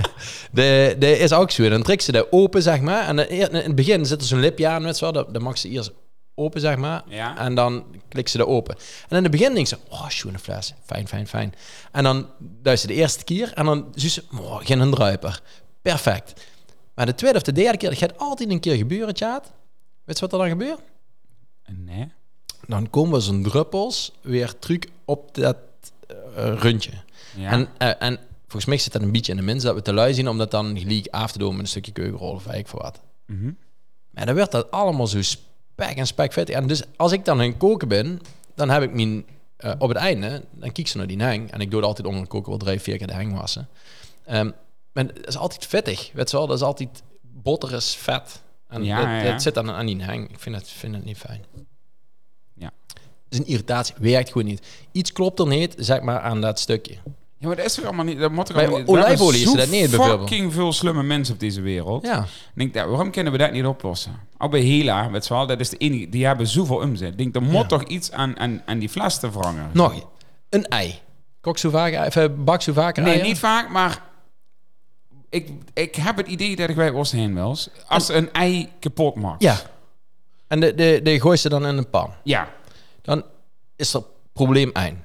de, de is ook zo. Dan trekt ze de open, zeg maar. En dan eer- in het begin zit er zo'n lipje aan, met zo, dat, dat mag ze eerst open, zeg maar. Ja. En dan klikt ze er open. En in het begin denkt ze, oh, schone fles. Fijn, fijn, fijn. En dan duist ze de eerste keer en dan ziet ze, oh, geen een druiper. Perfect. Maar de tweede of de derde keer, dat gaat altijd een keer gebeuren, Tjaat. Weet je wat er dan gebeurt? Nee. Dan komen zo'n druppels weer terug op dat eh, rondje. Ja. En, eh, en volgens mij zit dat een beetje in de mensen dat we te lui zien, omdat dan gelijk af te doen met een stukje keukenrol of weet ik voor wat. Mhm. Maar dan werd dat allemaal zo spek en spek vet. En dus als ik dan aan het koken ben, dan heb ik mijn... eh, op het einde, dan kijk ze naar die hang. En ik doe het altijd onder de koken wel drie, vier keer de hang wassen. Ehm, maar het is altijd vettig, weet je wel. Dat is altijd... Botter is vet. En Ja, het, ja, ja. het zit aan, aan die hang. Ik vind het, vind het niet fijn. Ja. Het is een irritatie. Werkt gewoon niet. Iets klopt er niet, zeg maar, aan dat stukje. Ja, maar dat is toch allemaal niet. Dat moet toch Bij allemaal niet. We olijfolie hebben is zo dat niet, bijvoorbeeld. fucking veel slimme mensen op deze wereld. Ja. Ik denk, ja, waarom kunnen we dat niet oplossen? Al bij Hela, weet je wel, dat is de enige. Die hebben zoveel omzet. Ik denk, er moet toch iets aan, aan, aan die fles te verhangen. Nog een ei. Kok zo vaak, even bak zo vaak nee, eieren? niet vaak, maar. Ik, ik heb het idee dat ik bij ons heen wel eens. Als ze een ei kapot maakt. Ja. En de, de, de gooi ze dan in een pan. Ja. Dan is er probleem één.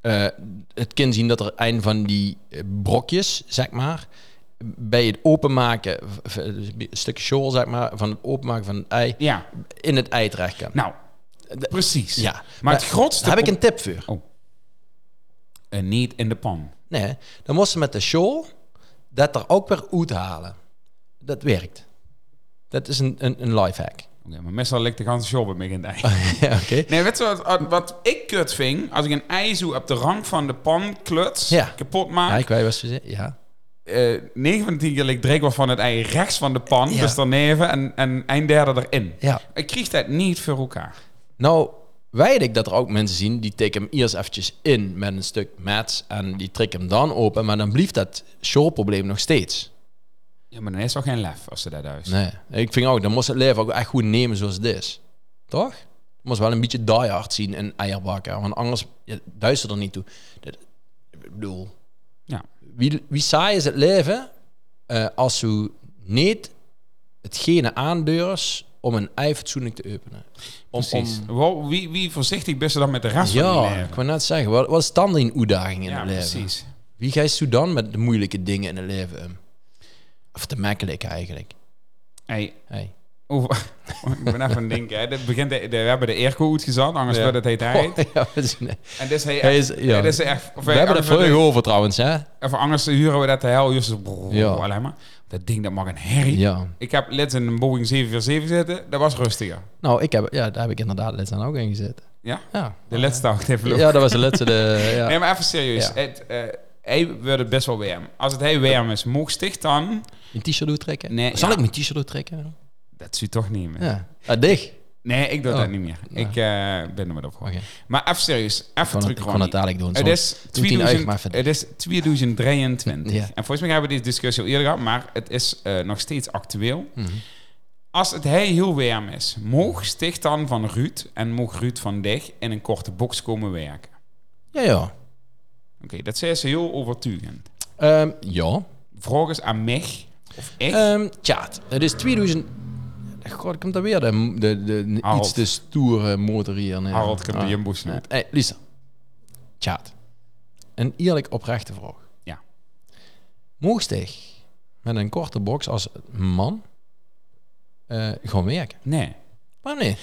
Eh, het kind zien dat er een van die eh, brokjes, zeg maar, bij het openmaken, v- v- een stukje shoal, zeg maar, van het openmaken van het ei, Ja. in het ei terecht kan. Nou, precies. ja. Maar, het grootste. Daar heb ik pro- een tip voor. Eh, niet in de pan. Nee, dan moest ze met de show dat er ook weer uit halen. Dat werkt. Dat is een, een, een lifehack. Oké, maar meestal ligt de ganse shop mee in het ei. ja, oké. Nee, weet je wat, wat- wat ik kut ving? Als ik een ei zo op de rand van de pan kluts, Ja. kapot Ja, maak. ik weet wat je zegt. Ja. 9 van de 10 keer ligt Drake wel van het ei rechts van de pan, Ja. dus daarneven en, en een derde erin. ja. Ik kreeg dat niet voor elkaar. Nou, weet ik dat er ook mensen zien die tikken hem eerst eventjes in met een stuk mats en die trekken hem dan open, maar dan blijft dat showprobleem nog steeds. Ja, maar dan is toch geen lef als ze dat huis. Nee, ik vind ook, dan moest het leven ook echt goed nemen zoals het is. Toch? Je moest wel een beetje diehard zien in eierbakken, want anders ja, duister er niet toe. Dit- ik bedoel, Ja. wie, wie saai is het leven eh, als u niet hetgene aandeurs om een ei fatsoenlijk te openen? Om, Precies. om- Wel, wie, wie voorzichtig best dan met de rest van die ja, ik leven? wou net zeggen, wat, wat is dan een uitdaging in Ja, het leven? precies. Wie ga je dan met de moeilijke dingen in het leven om? Of te makkelijk eigenlijk. Hey, Hey. over- ik ben even aan het denken. Hè. Dit begint, de- de- we hebben de airco uitgezet, anders Ja. wordt het heet hij. ja, we zijn- En dit is hij Hij is- echt- ja. dit is echt... of we hij- hebben er anders wordt veel over trouwens, hè? Even anders huren we dat de hel. Just, brrr, Ja. alleen maar. Dat ding, dat mag een herrie. Ja. Ik heb let's in een Boeing 747 zitten. Dat was rustiger. Nou, ik heb, ja, daar heb ik inderdaad laatst aan ook in gezeten. Ja? Ja. De laatste dag heeft verloren. Ja, dat was de laatste. De, ja. Nee, maar even serieus. Ja. Het, eh, hij wordt het best wel warm. Als het heel warm is, mocht sticht dan... Mijn t-shirt doortrekken? Nee, Zal ja. ik mijn t-shirt doortrekken? Dat zie je toch niet meer. Ja. Ah, dicht. Nee, ik doe Oh. dat niet meer. Nee. Ik eh, ben er maar op gewoon. Oké. Maar even serieus. Ik Even kon het- terug Ik kon gewoon. het dadelijk doen. Het soms. is, doet hij nou echt 2000 maar verder. het is 2023. Ja. En volgens mij hebben we deze discussie al eerder gehad, maar het is eh, nog steeds actueel. Mhm. Als het hij heel warm is, moog Sticht dan van Ruud en moog Ruud van Deg in een korte box komen werken. Ja, ja. Oké, dat zei ze heel overtuigend. Ehm, ja. Vraag eens aan mij of ik. Ehm tjaat, het is 2000... God, komt daar weer de, de, de, Harold. iets te stoere motor hier. neer. Ah, Harold komt de Jumbo nee. snoet. Hey, Lisa. Tjaat. Een eerlijk oprechte vraag. Ja. Moest ik met een korte box als man eh, gewoon werken? Nee. Maar nee.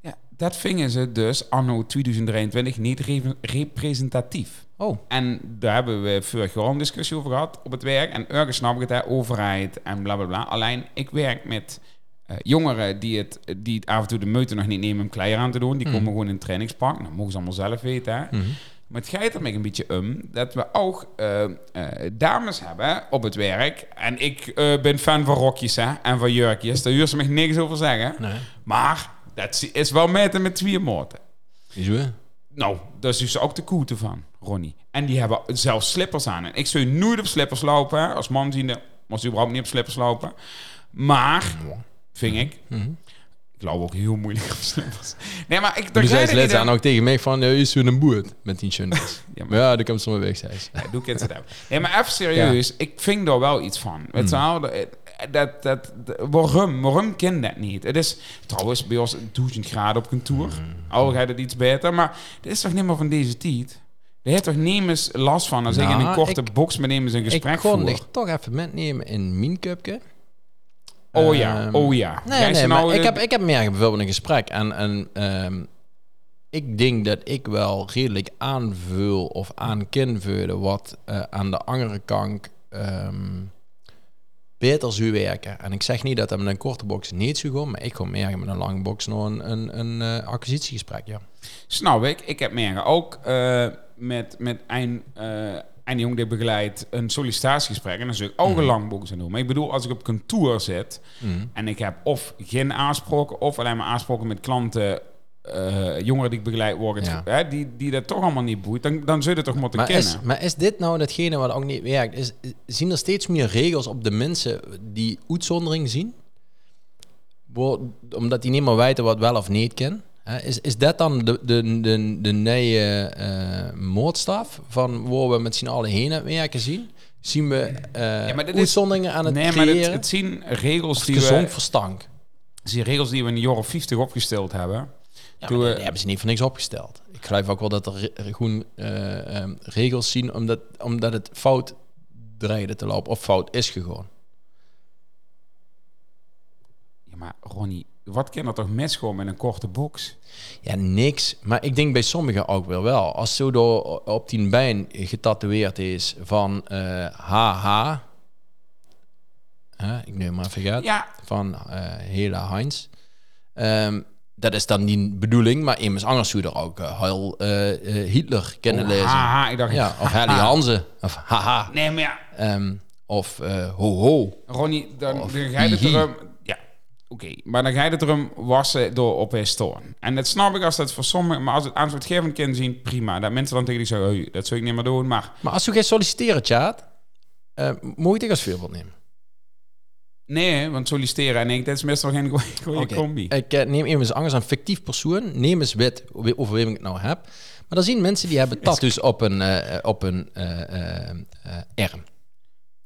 Ja, dat vingen ze dus anno 2023 niet re- representatief. Oh, En daar hebben we vorig jaar al een discussie over gehad op het werk. En ergens snap ik het, hè, overheid en bla bla bla. Alleen ik werk met eh, jongeren die het, die het af en toe de meute nog niet nemen om klei aan te doen. Die komen gewoon in een trainingspak. Dat mogen ze allemaal zelf weten. Hè. Maar het gaat er mij een beetje om dat we ook eh, eh, dames hebben op het werk. En ik eh, ben fan van rokjes hè, en van jurkjes. Daar huur ze mij niks over zeggen. Nee. Maar dat is wel meten met twee moten. is we. Nou, daar is dus ook de koete van, Ronnie. En die hebben zelfs slippers aan. En ik zou nooit op slippers lopen. hè. Als man ziende moest je überhaupt niet op slippers lopen. Maar, ving ik... Mhm. Ik loop ook heel moeilijk op slippers. Nee, maar ik... daar Toen ga je zei ze er niet laatst aan aan. ook tegen mij van, eh, is u een boert met die schoentjes? Ja, ja, maar- maar ja, dan komt ze maar weg, zei ze. Ja, doe ik het zo. Nee, maar even serieus. Ik ving daar wel iets van. Weet je Hmm. wel? Dat, dat, dat, waarom? Waarom ken dat niet? Het is trouwens bij ons een duizend graden op kantoor. Hmm. Al gaat het iets beter. Maar dit is toch niet meer van deze tijd? Daar heeft toch niemand last van als ik in een Nou, korte ik- box met iemand een gesprek Ik kon voer? dich toch even metnemen in mijn cupje. Oh ja, Ehm, oh ja. Nee, Jij nee, is maar nou, eh, ik, heb, ik heb meer bijvoorbeeld een gesprek. En, en ehm, ik denk dat ik wel redelijk aanvul of aan kan vullen wat eh, aan de andere kant ehm, beter zou werken. En ik zeg niet dat dat met een korte box niet zou gaan, maar ik kom meer met een lange box nog een, een, een eh, acquisitiegesprek. Ja. Snap ik. Ik heb meer ook eh, met, met een, eh een jong die ik begeleid een sollicitatiegesprek. En dan zul ik Hmm. ook een lang boek zijn doen. Maar ik bedoel, als ik op kantoor zit en ik heb of geen aanspraken of alleen maar aanspraken met klanten. eh, jongeren die ik begeleid worden, Ja. hè, die, die dat toch allemaal niet boeit, dan, dan zul je het toch moeten Maar kennen. is, maar is dit nou datgene wat ook niet werkt? Is, zien er steeds meer regels op de mensen die uitzondering zien? Wo- Omdat die niet meer weten wat wel of niet kan? Hè, Is, is dat dan de, de, de, de nieuwe eh moordstaf van waar we met z'n allen heen aan het werken zien? Zien we eh Ja, maar dit is- uitzonderingen aan het nee, maar creëren? het, het zien regels die gezond we, verstand. het zijn regels die we in de jaren 50 opgesteld hebben. Ja, Toen maar we- die, die hebben ze niet voor niks opgesteld. Ik geloof ook wel dat er re- er gewoon eh, ehm, regels zien omdat, omdat het fout dreigde te lopen. Of fout is gewoon. Ja, maar Ronnie, wat kan er toch mis gewoon met een korte box? Ja, niks. Maar ik denk bij sommigen ook wel wel. Als zo door op die bijn getatoeëerd is van eh, HH. Hè, ik neem maar even uit. Ja, Van eh Hela Heinz. Ehm, dat is dan niet bedoeling, maar immers anders zou je er ook eh, Heil eh, eh, Hitler kennen Oh, lezen. haha, ik dacht, Ja, of Helly Hansen. Of haha. nee, maar ja, Ehm, of eh, ho ho. Ronnie, dan, dan Of ga je het hihi. erom... Ja, oké. Maar dan ga je het erom wassen door op historie. En dat snap ik als dat voor sommigen... Maar als het antwoordgevend kan zien, prima. Dat mensen dan tegen die zeggen, "Hey, dat zou ik niet meer doen. Maar Maar als u gaat solliciteren, Tjaat, eh, moet je dit als voorbeeld nemen. nee, want solliciteren en ik, dat is meestal geen goeie, goeie Oké. combi. Ik eh, neem even anders een fictief persoon. Neem eens wit over wie ik het nou heb. Maar dan zien mensen die hebben tattoos op een, eh, eh, op een eh, eh, eh, arm.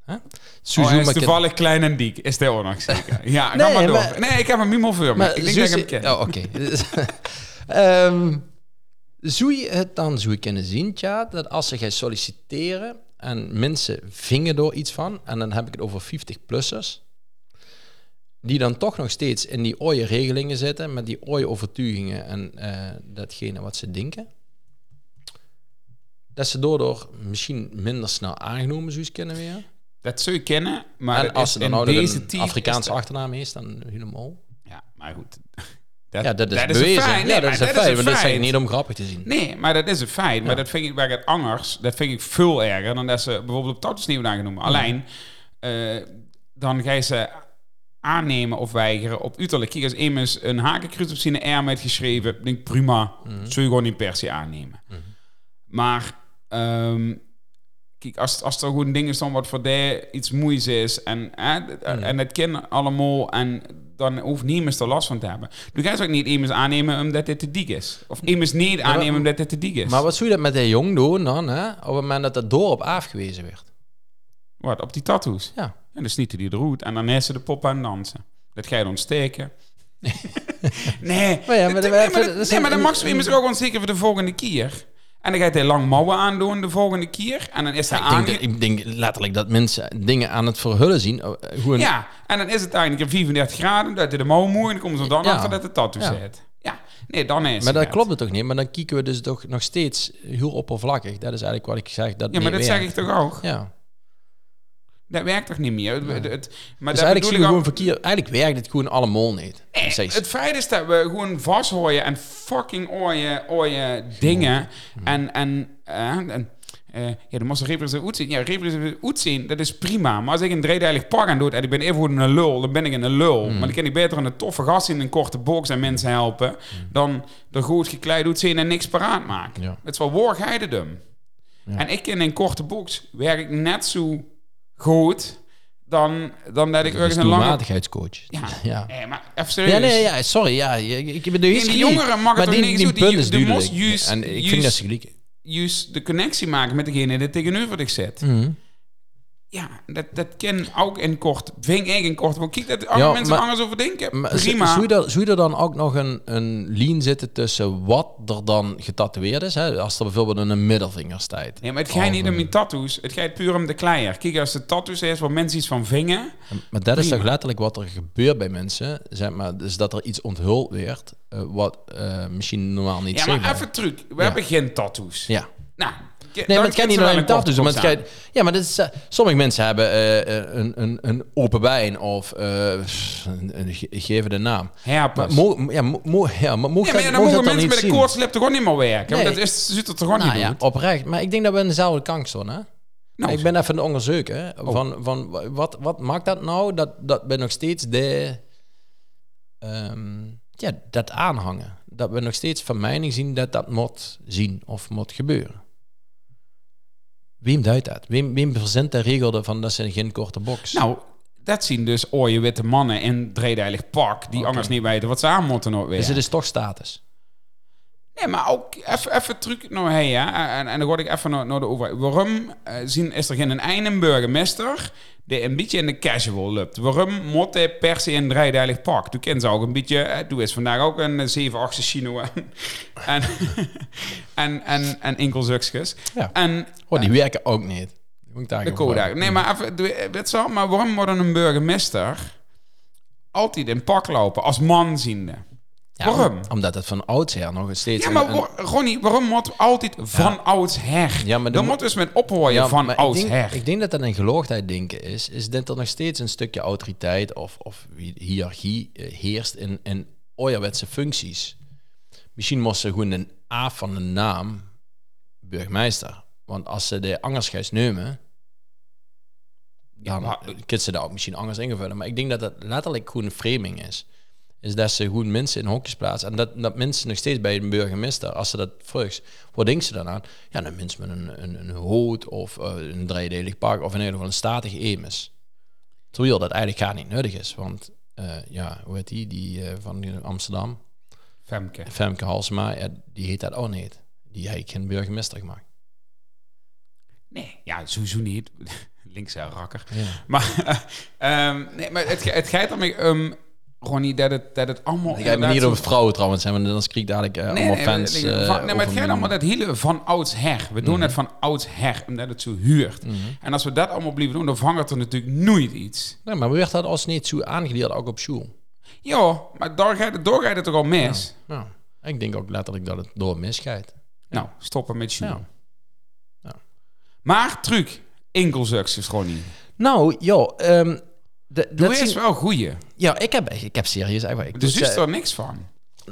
Huh? Oh, hij is Suzuma- toevallig klein en dik. Is dat ook nog zeker? Ja, ga Nee, maar door. maar- nee, ik heb een mimo voor me. Maar Ik denk zou dat ik hem ze- ken. Oh, oké. Ehm, zou je het dan zo kunnen zien, Tja, dat als ze gaan solliciteren en mensen vingen door iets van, en dan heb ik het over 50-plussers, die dan toch nog steeds in die ooie regelingen zitten, met die ooie overtuigingen en eh, datgene wat ze denken, dat ze daardoor misschien minder snel aangenomen zouden kunnen weer. Dat zou je kennen, maar en dat als is ze dan in nou deze een tijd is Afrikaanse dat- achternaam is, dan helemaal. Ja, maar goed. Dat, Ja, dat is een bewezen. feit. Nee, ja, maar dat is een feit. Maar dit zeg ik feit. niet om grappig te zien. Nee, maar dat is een feit. Maar dat vind ik bij het angers, dat vind ik veel erger dan dat ze bijvoorbeeld op tattoos niet worden aangenomen. Alleen, eh, dan ga je ze aannemen of weigeren op uiterlijk. Kijk, als immers een hakenkruid op zijn arm heeft geschreven, denk ik, prima, zul je gewoon niet per se aannemen. Maar, ehm, kijk, als, als er Mm. gewoon dingen staan wat voor die iets moeis is en, eh, d- en het kind allemaal en dan hoeft niemand er last van te hebben. Du kannst ook niet iemand aannemen omdat dit te dik is. Of iemand niet aannemen omdat dit te dik is. Maar wat zou je dat met de jong doen dan, hè? Op het moment dat dat dorp afgewezen werd? Wat, op die tattoos? Ja. En dan snieten die eruit en dan is ze de pop aan het dansen. Dat ga je dan steken. nee. Maar ja, maar dat- nee, dat- dat- maar dat dat- nee, zijn- maar dan mag ze immers ook onzeker voor de volgende keer. En dan gaat hij lang mouwen aandoen de volgende keer. En dan is hij Ik denk, aange... dat- ik denk letterlijk dat mensen dingen aan het verhullen zien. eh, Hoe een- Ja, en dan is het eigenlijk 34 graden, dat hij de mouw moe en dan komen ze dan Ja. achter dat de tattoo Ja. zit. Ja, nee, dan is Maar het dat het. klopt het toch niet? Maar dan kieken we dus toch nog steeds heel oppervlakkig. Dat is eigenlijk wat ik zeg. Dat Ja, maar niet dat zeg werkt. ik toch ook? Ja. Dat werkt toch niet meer? Het- het- maar Dus dat eigenlijk bedoel ik zien we ook- gewoon verkeer. Eigenlijk werkt het gewoon allemaal niet. Nee, Precies. het feit is dat we gewoon vasthooien en fucking ooien, ooien dingen. Mm-hmm. En, en, eh, en eh, ja, dan moest de repressief goed zien. Ja, repressief goed zien, dat is prima. Maar als ik een driedelig pak aan doe en ik ben even goed in een lul, dan ben ik in een lul. Mm. Maar dan kan ik beter een toffe gast in een korte box en mensen helpen. Dan er goed gekleid doet zien en niks paraat maken. Mm. Ja. Het is wel wargeidendom. Ja. En ik in een korte box werk ik net zo goed dan, dan dat ik Dat is ergens een lange... doelmatigheidscoach. Ja. Eh, ja. Nee, maar even serieus. Ja, nee, ja, sorry. Ja, ik ik ben de die jongeren mag het maar toch die, niks die doen, die punt ju- is de mos duidelijk. juist- en ik juist- vind dat ze gelijk. juist de connectie maken met degene die tegenover zich zit. Mhm. Ja, dat, dat ken ook in kort. Ving ik in kort. Want kijk dat andere Ja, mensen maar- anders over denken. Maar Prima. Zou je, daar- zou je er dan ook nog een, een lien zitten tussen wat er dan getatoeëerd is? Hè? Als er bijvoorbeeld een middelvinger staat. nee, maar het gaat Oh, niet om die tattoos. Het gaat puur om de kleier. Kijk, als de tattoos is waar mensen iets van vingen. Maar dat is Prima. toch letterlijk wat er gebeurt bij mensen? Zeg maar, dus dat er iets onthuld werd eh, wat eh, misschien normaal niet Ja, maar zichtbaar even truc. We Ja. hebben geen tattoos. Ja. Nou, nee, Nee, maar het kan niet alleen tattoos. Maar het kan- ja, maar dit is, eh, sommige mensen hebben eh, eh, een, een, een open wijn of eh, een, een, ge- geven de naam. Herpes. Maar mo, ja, mo, mo- ja, maar mogen ja, maar ja, dat- dan mogen mogen dat mensen niet met de zien? koortslip toch ook niet meer werken. Nee. Want dat is, zit er toch ook Nou niet ja, goed. oprecht. Maar ik denk dat we in dezelfde kank staan, hè? Nou, Oh. ik ben even een onderzoeker. hè, Van, van wa- wat, wat maakt dat nou dat, dat we nog steeds de, ehm, ja, dat aanhangen? Dat we nog steeds van mening zien dat dat moet zien of moet gebeuren. Wem duidt dat? Wem, wem verzint de regelde van dat ze geen korte box? Nou, dat zien dus ooie witte mannen in driedelig pak... die anders niet weten wat ze aan moeten ook weer. Dus het is toch status. Nee, maar ook even, even terug naar hij, ja. En, en dan word ik even naar, naar de overheid. Waarom eh, zien, is er geen een burgemeester die een beetje in de casual loopt? Waarom moet hij per se een driedelig pak? Toen kent ze ook een beetje... eh, Toen is vandaag ook een 7 8 chino en, en, en, en, en enkel zuksjes. Ja. En Oh, die werken ook niet. Moet ik daar de gewoon Kodak. bij. Nee, maar even, doe- weet je wel, maar waarom moet een burgemeester altijd in pak lopen als man ziende? Ja, waarom? om- omdat het van oudsher nog steeds... Ja, een- maar een- wa- Ronnie, waarom moet altijd van oudsher? Ja, maar dan de- moet dus met ophooien van maar ik oudsher. denk, ik denk dat dat een geloogdheid denken is. Is dat er nog steeds een stukje autoriteit of, of hiërarchie eh, heerst in, in ouderwetse functies. Misschien moest ze gewoon een A van de naam burgemeester. Want als ze de angerschuis nemen, dan maar- kunnen ze dat ook misschien anders invullen. Maar ik denk dat dat letterlijk gewoon een framing is. Is dat ze gewoon mensen in hokjes plaatsen. En dat, dat mensen nog steeds bij een burgemeester, als ze dat vroeg, wat denken ze dan aan? Ja, een mens met een, een, een hoed of eh, een driedelig pak of in ieder geval een statige emus. Terwijl dat eigenlijk gar niet nodig is. Want eh, ja, hoe heet die, die eh, van Amsterdam? Femke. Femke Halsema, ja, die heet dat ook niet. Die heeft geen burgemeester gemaakt. Nee, ja, sowieso niet. Links en rakker. Ja. Maar, ehm, nee, maar het, ge- het gaat om... ehm Ronnie, dat het, dat het allemaal... Ik heb me inderdaad niet zo- over vrouwen trouwens, hè, want dan schrik ik dadelijk eh, Nee, allemaal nee, fans. nee, eh, Mhm. van- nee, maar het over gaat mijn- allemaal dat hele van oudsher. We doen het van oudsher, omdat het zo huurt. Mhm. En als we dat allemaal blijven doen, dan vangt er natuurlijk nooit iets. Nee, maar werd dat als niet zo aangeleerd, ook op school? Ja, maar daar gaat het, daar gaat het toch al mis? Nou, ik denk ook letterlijk dat het door misgaat. Nou, stoppen met jou. Ja. Maar, truc, enkelzuks is gewoon niet. Nou, joh, ehm, de- Dat dat is zien- wel goeie. ja, ik heb, ik heb serieus eigenlijk... De Dus, zus er niks van.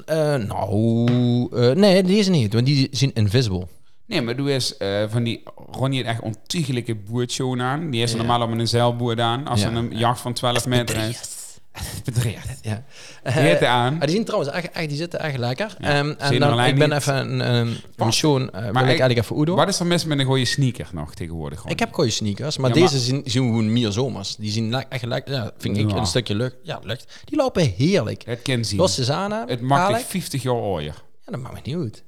eh, eh, nou, eh, nee, die is niet, want die zien invisible. Nee, maar doe eens eh, van die Ronnie het echt ontiegelijke boertje aan. Die is normaal op een zeilboer aan. Als Ja. er een jacht van 12 meter is. Bedreigd. Ja. Heet aan. Ah, die, zien trouwens echt, echt, die zitten echt lekker. Ja, Ehm, en zien er dan, alleen ik ben niet. even een, een, een Pas. schoon, eh, wil ik ik- eigenlijk even Udo. Wat is er mis met een goede sneaker nog tegenwoordig? gewoon? Ik heb goede sneakers, maar Ja, deze maar- Zien, zien gewoon meer zomers. Die zien le- echt lekker, ja, vind ik Ja. een stukje lucht. Ja, lucht. Die lopen heerlijk. het kind zien. Los is aan, Het haal maakt ik. echt 50 jaar ooier. Ja, dat maakt me niet uit.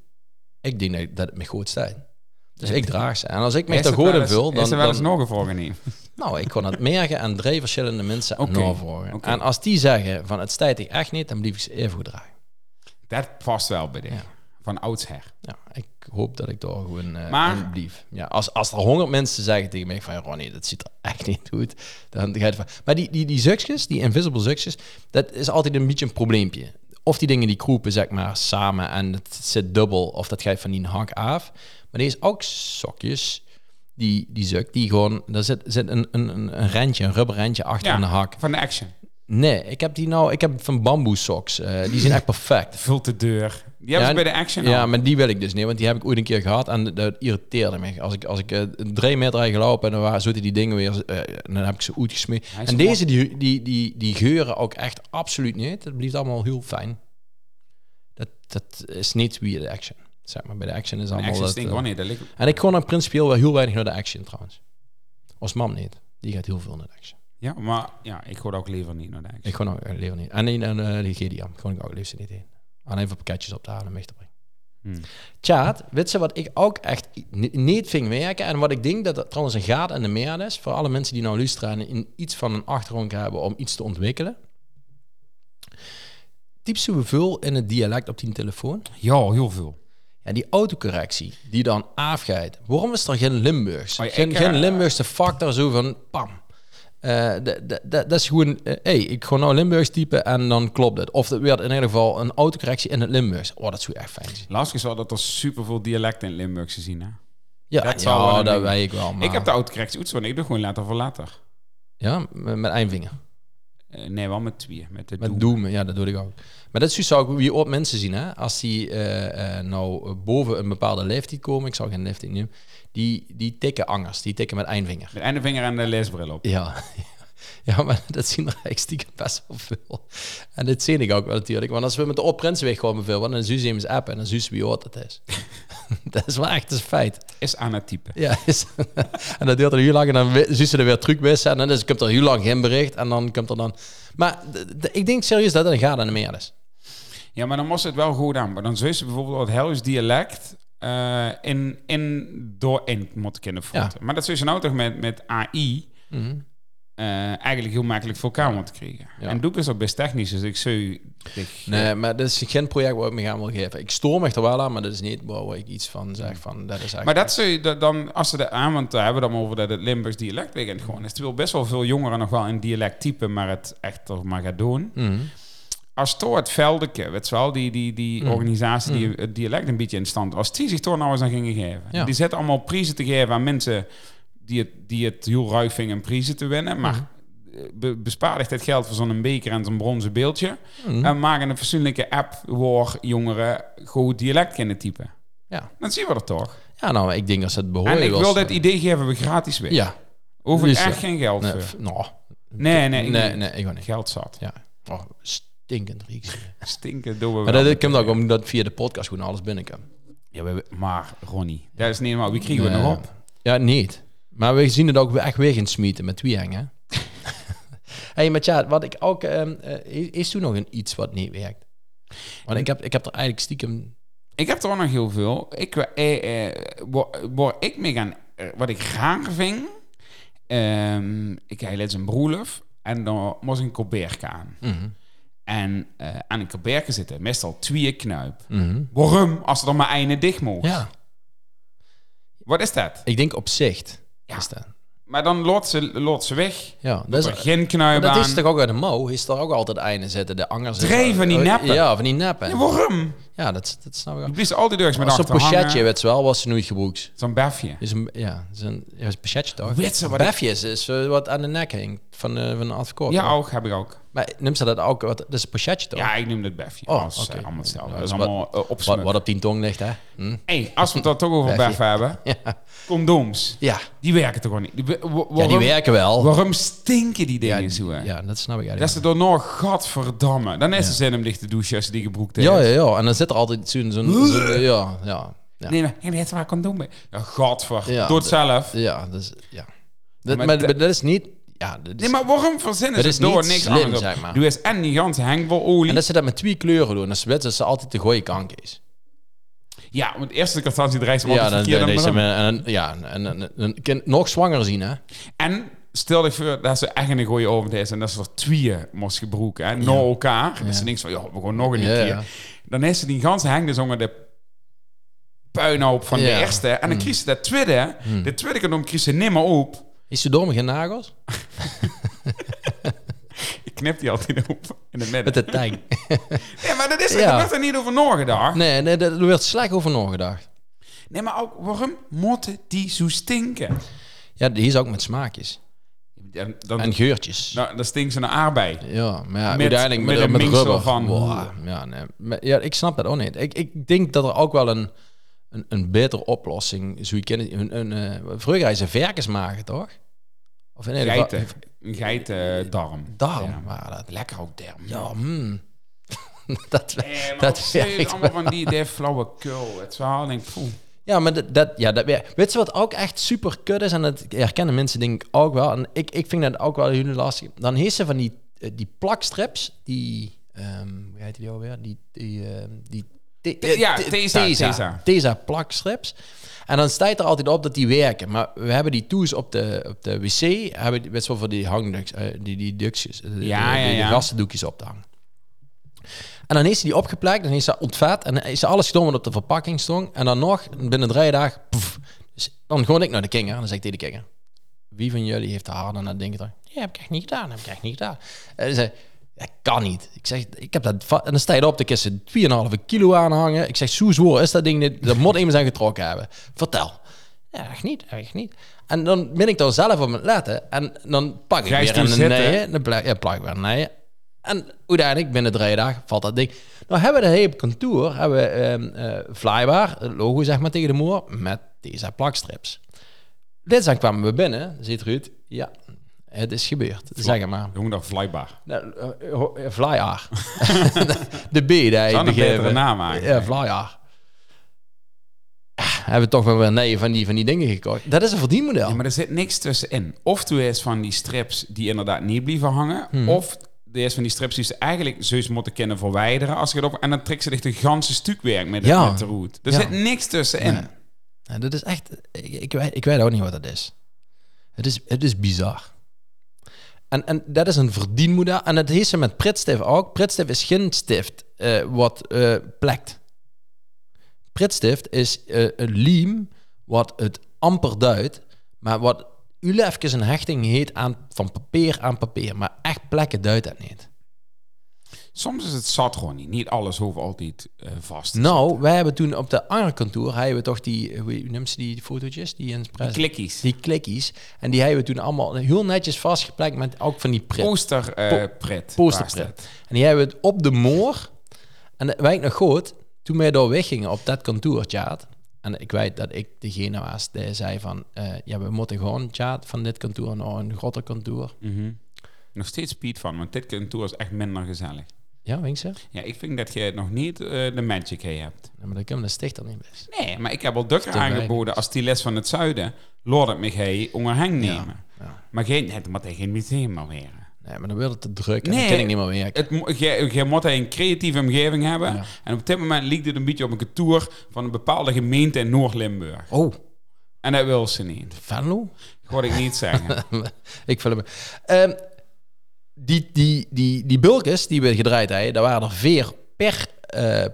Ik denk dat- dat het me goed staat. Dus ik draag ze. En als ik me Is er het goed wel in eens- vul, dan... Is er wel eens dan- nog een vraag in? nou, ik kon het merken aan drie verschillende mensen Oké, navorgen. oké. En als die zeggen van het stijt ik echt niet, dan blijf ik ze even goed dragen. Dat past wel bij dit. Ja. Van oudsher. Ja, ik hoop dat ik daar gewoon eh Maar- aan blijf. Ja, als, als er honderd mensen zeggen tegen mij van... Ronnie, dat ziet er echt niet goed. Dan ga je van... Maar die, die, die zuksjes, die invisible zuksjes... Dat is altijd een beetje een probleempje. Of die dingen die kroepen, zeg maar, samen en het zit dubbel. Of dat gaat van die hak af. Maar er is ook sokjes... Die, die zuk, die gewoon... Daar zit, zit een, een, een een randje, een rubber randje achter aan de hak. Van de action. Nee, ik heb die nou... Ik heb van bamboe socks. eh, die zijn echt perfect. Vult de deur. Die hebben ze bij de action Ja, al. maar die wil ik dus niet, want die heb ik ooit een keer gehad en dat irriteerde me. Als ik, als ik eh, drie meter had gelopen en dan waren, zitten die dingen weer, eh, en dan heb ik ze ooit gesmeed. Hij is En gewoon- deze, die, die, die, die geuren ook echt absoluut niet. Het blijft allemaal heel fijn. Dat, dat is niet wie de action. Zeg maar, bij de action is Een allemaal... action dat, stinkt eh, gewoon niet. Dat ligt- en ik kon in principe wel heel weinig naar de action trouwens. Als mam niet. Die gaat heel veel naar de action. Ja, maar ja, ik hoor ook liever niet naar de action. Ik gewoon ook eh, liever niet. En in een eh, die GDM, gewoon ik ook liefst niet heen. Aan even pakketjes op te halen en weg te brengen. Hmm. Tjaat, weet ze wat ik ook echt ni- niet ving werken en wat ik denk dat dat trouwens een gaat en de meer is voor alle mensen die nou luisteren en in iets van een achtergrond hebben om iets te ontwikkelen. Typ ze veel in het dialect op die telefoon. Ja, heel veel. Ja, die autocorrectie die dan afgaat. Waarom is er geen Limburgs? Oh ja, geen, ik, eh, geen Limburgse factor zo van pam. Eh, d- d- d- dat is gewoon, eh, hey, ik ga nou Limburgs typen en dan klopt het. Of het werd in ieder geval een autocorrectie in het Limburgs. Oh, dat is zo echt fijn. zijn. Lastig is wel dat er superveel dialecten in Limburg te zien. Hè? Ja, Dat dat, zou wel ja, een dat ding- weet ik wel. Maar, Ik heb de oud-correctie oets, want ik doe gewoon later voor later. Ja, met, met eindvinger. Eh, nee, wel met twee. Met de Met doe. doemen, ja, dat doe ik ook. Maar dat is zo zou ik wie op mensen zien, hè? Als die eh, eh, nou boven een bepaalde leeftijd komen, ik zou geen leeftijd nemen, die, die tikken angers, die tikken met eindvinger. Met einde vinger en de leesbril op. Ja. Ja, maar dat zien er eigenlijk stiekem best wel veel. En dat zie ik ook wel natuurlijk. Want als we met de opprensweg komen veel, want dan zien ze hem eens app en dan zien ze wie hoort het is. dat is wel echt een feit. Is aan het typen. Ja, is- en dat duurt er heel lang en dan we- zien ze er weer truc wissen. En dan is, dus komt er heel lang geen bericht en dan komt er dan... Maar d- d- ik denk serieus dat het een gaat aan de meer is. Ja, maar dan moest het wel goed aan. Maar dan zou ze bijvoorbeeld het Hellish dialect eh, in, in, door in moeten kunnen vatten. Maar dat zou ze nou toch met, met AI eh, eigenlijk heel makkelijk voor elkaar moeten krijgen. Ja. En doe ik is ook best technisch, dus ik zou... Ik, Nee, maar dat is geen project waar ik me aan wil geven. Ik stoor me er wel aan, maar dat is niet waar ik iets van zeg van... Dat is echt... Maar dat zou je dat dan, als ze dat aan, want daar hebben we dan over dat het Limburgs dialect weekend gewoon is. Terwijl best wel veel jongeren nog wel een dialect typen, maar het echt toch maar gaat doen. Mhm. Als toch het Veldeke, weet je wel, die, die, die Mhm. organisatie die het dialect een beetje in stand, als die zich toch nou eens aan gingen geven. Ja. Die zetten allemaal prijzen te geven aan mensen die het, die het heel ruig vingen een prijzen te winnen, maar Mhm. be, bespaardigt het geld voor zo'n beker en zo'n bronzen beeldje. Mhm. En maken een fatsoenlijke app waar jongeren goed dialect kunnen typen. Ja. Dan zien we dat toch. ja, nou, ik denk dat ze het behoorlijk En ik wel wil storen. dit idee geven we gratis weg. eh. Ja. Hoef ik Dus ja. echt geen geld Nee, voor. f- nou, Nee, nee, ik nee, niet. nee, ik ook niet. Geld zat. Ja. Oh, stinkend rieks. Stinken doen we maar wel. dat komt ook omdat via de podcast gewoon alles binnen kan. Ja, we- maar Ronnie, dat is niet helemaal. Wie kriegen we Nee. nog op? Ja, niet. Maar we zien het ook echt weg in smeten met wie hè? hey, maar tja, wat ik ook... ehm, eh, is- is toen nog een iets wat niet werkt? Want ik heb, ik heb er eigenlijk stiekem... Ik heb er ook nog heel veel. Ik, eh, eh, waar, waar ik mee gaan, eh, wat ik graag ving, ehm, ik had laatst een broerlof en dan moest ik een koberke aan. Mhm, En eh, aan een koberke zitten meestal twee knuip. mhm. Waarom? Als er dan maar einde dicht mocht. Ja, Wat is dat? ik denk op zicht. Ja. Is dat. Maar dan lot ze, lot ze weg. Ja, dat Er is... geen knuip Dat aan. is toch ook uit de mouw? Is er ook altijd einde zetten, de angers... Oh, Drie van die neppen. Ja, van die neppen. Ja, waarom? Ja, dat, dat snap ik Je ook. blies al die deurs met Als een achter pochetje, hangen. weet je wel, was ze nooit gebroekt. Zo'n bafje. Is een, ja, is een, ja, is een pochetje toch? Weet ze wat Befjes is eh, wat aan de nek hing van, eh, van de advocaat. Ja, toch? ook heb ik ook. Maar noemt ze dat ook? Wat, dat is een pochetje toch? Ja, ik noem dat beffje. Oh, als, eh, oké. allemaal hetzelfde. Ja, dat is dus wat- allemaal eh, wat, opsmuk. wat op tien tong ligt, hè? Hm? Hey, als we het dan toch over Beffie. beff hebben. Ja. Condooms. Ja. Die werken toch gewoon niet? Die, wa- wa- ja, die waarom- werken wel. Waarom stinken die dingen ja, zo? hè? ja, dat snap ik Dat eigenlijk. ze door nog gadverdamme. Dan is de zin om dicht te douchen als je die gebroekt heeft. Ja, ja, ja. En dan zit er altijd zo'n... zo'n zo'n- eh, ja, ja. Ja, Nee, maar je weet waar condoom bij. Ja, gadver. Ja, Doe het d- zelf. ja, dus, ja. Dat, Maar maar, de- maar dat is niet... Ja, dat is, Nee, maar waarom verzinnen Het ze is door niet niks slim, anders? zeg maar. Doe eens en die ganse hengbelolie. En dat ze dat met twee kleuren doen. Dat is wit, dat ze altijd de gooie kank is. Ja, want eerst de castantie dreigt ze Ja, dan, verkeerd dan, dan deze bedankt. men- en, ja, en, en, en- en- nog zwanger zien, hè? En stel je voor dat ze echt een goeie avond is en dat ze er tweeën moest gebroeken. hè, na elkaar. Dat ze niks van, joh, we gaan nog een Ja, keer. ja. Dan is ze die ganse heng dus onder de puinhoop van de Ja. Mm. eerste. En dan kreeg ze dat tweede. De tweede condoom kreeg ze nimmer op. Is ze dom geen nagels? Ik knip die altijd op in het midden. Met de tang. Nee, maar dat is Ja. er werd er niet over nagedacht. Nee. nee, nee, daar werd slecht over nagedacht. maar ook waarom motten die zo stinken? Ja, die is ook met smaakjes. En dan, En geurtjes. nou, dan stinkt ze naar aardbei. Ja, maar ja, Met- uiteindelijk met, met een met mengsel rubber. van- Wow, ja, nee. Maar ja, ik snap dat ook niet. Ik, ik denk dat er ook wel een, een, een betere oplossing... Zo je kent, het, een, een, eh, vroeger had je ze verkensmagen, toch? Of in ieder geval- Geiten. Een geitendarm. Darm Ja. waren dat. Lekker ook darm. Ja, mm. dat, Nee, maar dat dat werkt is allemaal wel. van die, die flauwekul. Het verhaal denk ik, poeh. Ja, maar dat, dat, ja, dat, werkt. weet je wat ook echt super kut is? En dat herkennen mensen denk ik ook wel. En ik, ik vind dat ook wel heel lastig. Dan heeft ze van die, eh, die plakstrips, die... ehm hoe heet die alweer? Die... die, ehm, die te- ja, te- Tesa, Tesa. Tesa. Tesa plakstrips. En dan staat er altijd op dat die werken. Maar we hebben die toes op de, op de wc. Hebben die- best wel voor die hangduks, eh, die, die dukjes. eh, de- Ja, de- ja, de- ja. De gastendoekjes op te hangen. En dan heeft ze die opgeplakt, dan heeft ze ontvet en dan is ze alles gedaan wat op de verpakking stond. En dan nog, binnen drie dagen, poef. Dus dan gewoon ik naar de kinger en dan zeg ik tegen de kinger. Wie van jullie heeft haar dan dat ding gedaan? Ja, heb ik echt niet gedaan, heb ik echt niet gedaan. En ze zei, dat kan niet. Ik zeg, ik heb dat... va- En dan sta je op, dan kun je 2,5 kilo aanhangen. Ik zeg, zo zwaar is dat ding niet. Dat moet iemand zijn getrokken hebben. Vertel. Ja, echt niet, echt niet. En dan ben ik daar zelf op aan het letten. En dan pak ik Ga je weer toen een zitten? nee, dan plak, ja, plak ik weer een nee. En uiteindelijk, binnen drie dagen, valt dat ding. Nou hebben we de hele kantoor, hebben we ehm eh, flybar, het logo zeg maar tegen de muur, met deze plakstrips. Dit zijn kwamen we binnen, zit Ruud. Ja, het is gebeurd, zeg maar. Jongen, dat vlijbaar. Nou, eh, ho- eh, Vlaar. de B, daar Zou heb een betere naam Ja, eigenlijk. Vlaar. Ah, Hebben we toch wel weer nee van die, van die dingen gekocht. Dat is een verdienmodel. Ja, maar er zit niks tussenin. Of toen is van die strips die inderdaad niet blijven hangen. Hmm. Of er is van die strips die ze eigenlijk zeus moeten kunnen verwijderen. Als je het op, en dan trekt ze echt een ganse stuk werk met, Ja. met de route. Er Ja. zit niks tussenin. Nee. Ja, dat is echt... Ik, ik, weet- ik weet ook niet wat dat is. Het is, het is bizar. En, en dat is een verdienmodel. En dat heeft ze met Pritstift ook. Pritstift is geen stift eh, wat eh plekt. Pritstift is eh, een liem wat het amper duidt, maar wat u even een hechting heet aan, van papier aan papier. Maar echt plekken duidt dat niet. Soms is het zat gewoon niet. Niet alles hoeft altijd eh, vast. te Nou, wij hebben toen op de andere kantoor, hebben we toch die, eh, hoe hoe noemt ze die fotootjes? Die, in zitten. Klikkies. Die klikkies. En die hebben we toen allemaal heel netjes vastgeplakt met ook van die prit. Poster eh pret. posterpret. En die hebben we het op de moor. En dat weet ik nog goed, toen wij daar weggingen op dat kantoor, Tjaat. En ik weet dat ik degene was die zei van... eh, ja, we moeten gewoon, Tjaat, van dit kantoor naar een groter kantoor. Mhm. Nog steeds speed van, want dit kantoor is echt minder gezellig. Ja, weet je? Ja, ik vind dat je nog niet eh, de magic hier hebt. Ja, maar dat kan de stichter niet best. Nee, maar ik heb al dukker te weinig. aangeboden als die les van het zuiden. Lord het me gij onder hang nemen. ja. Maar geen, het moet hij geen museum meer leren. Nee, maar dan wil het te druk en Nee. dan kan ik niet meer werken. Het, mo- je, je moet hij een creatieve omgeving hebben. Ja. En op dit moment liep dit een beetje op een kantoor van een bepaalde gemeente in Noord-Limburg. Oh, En dat wil ze niet. Venlo? Dat hoorde ik niet zeggen. ik vul hem. Ehm, die, die, die, die bulkes die we gedraaid hebben, daar waren er vier per eh, eh,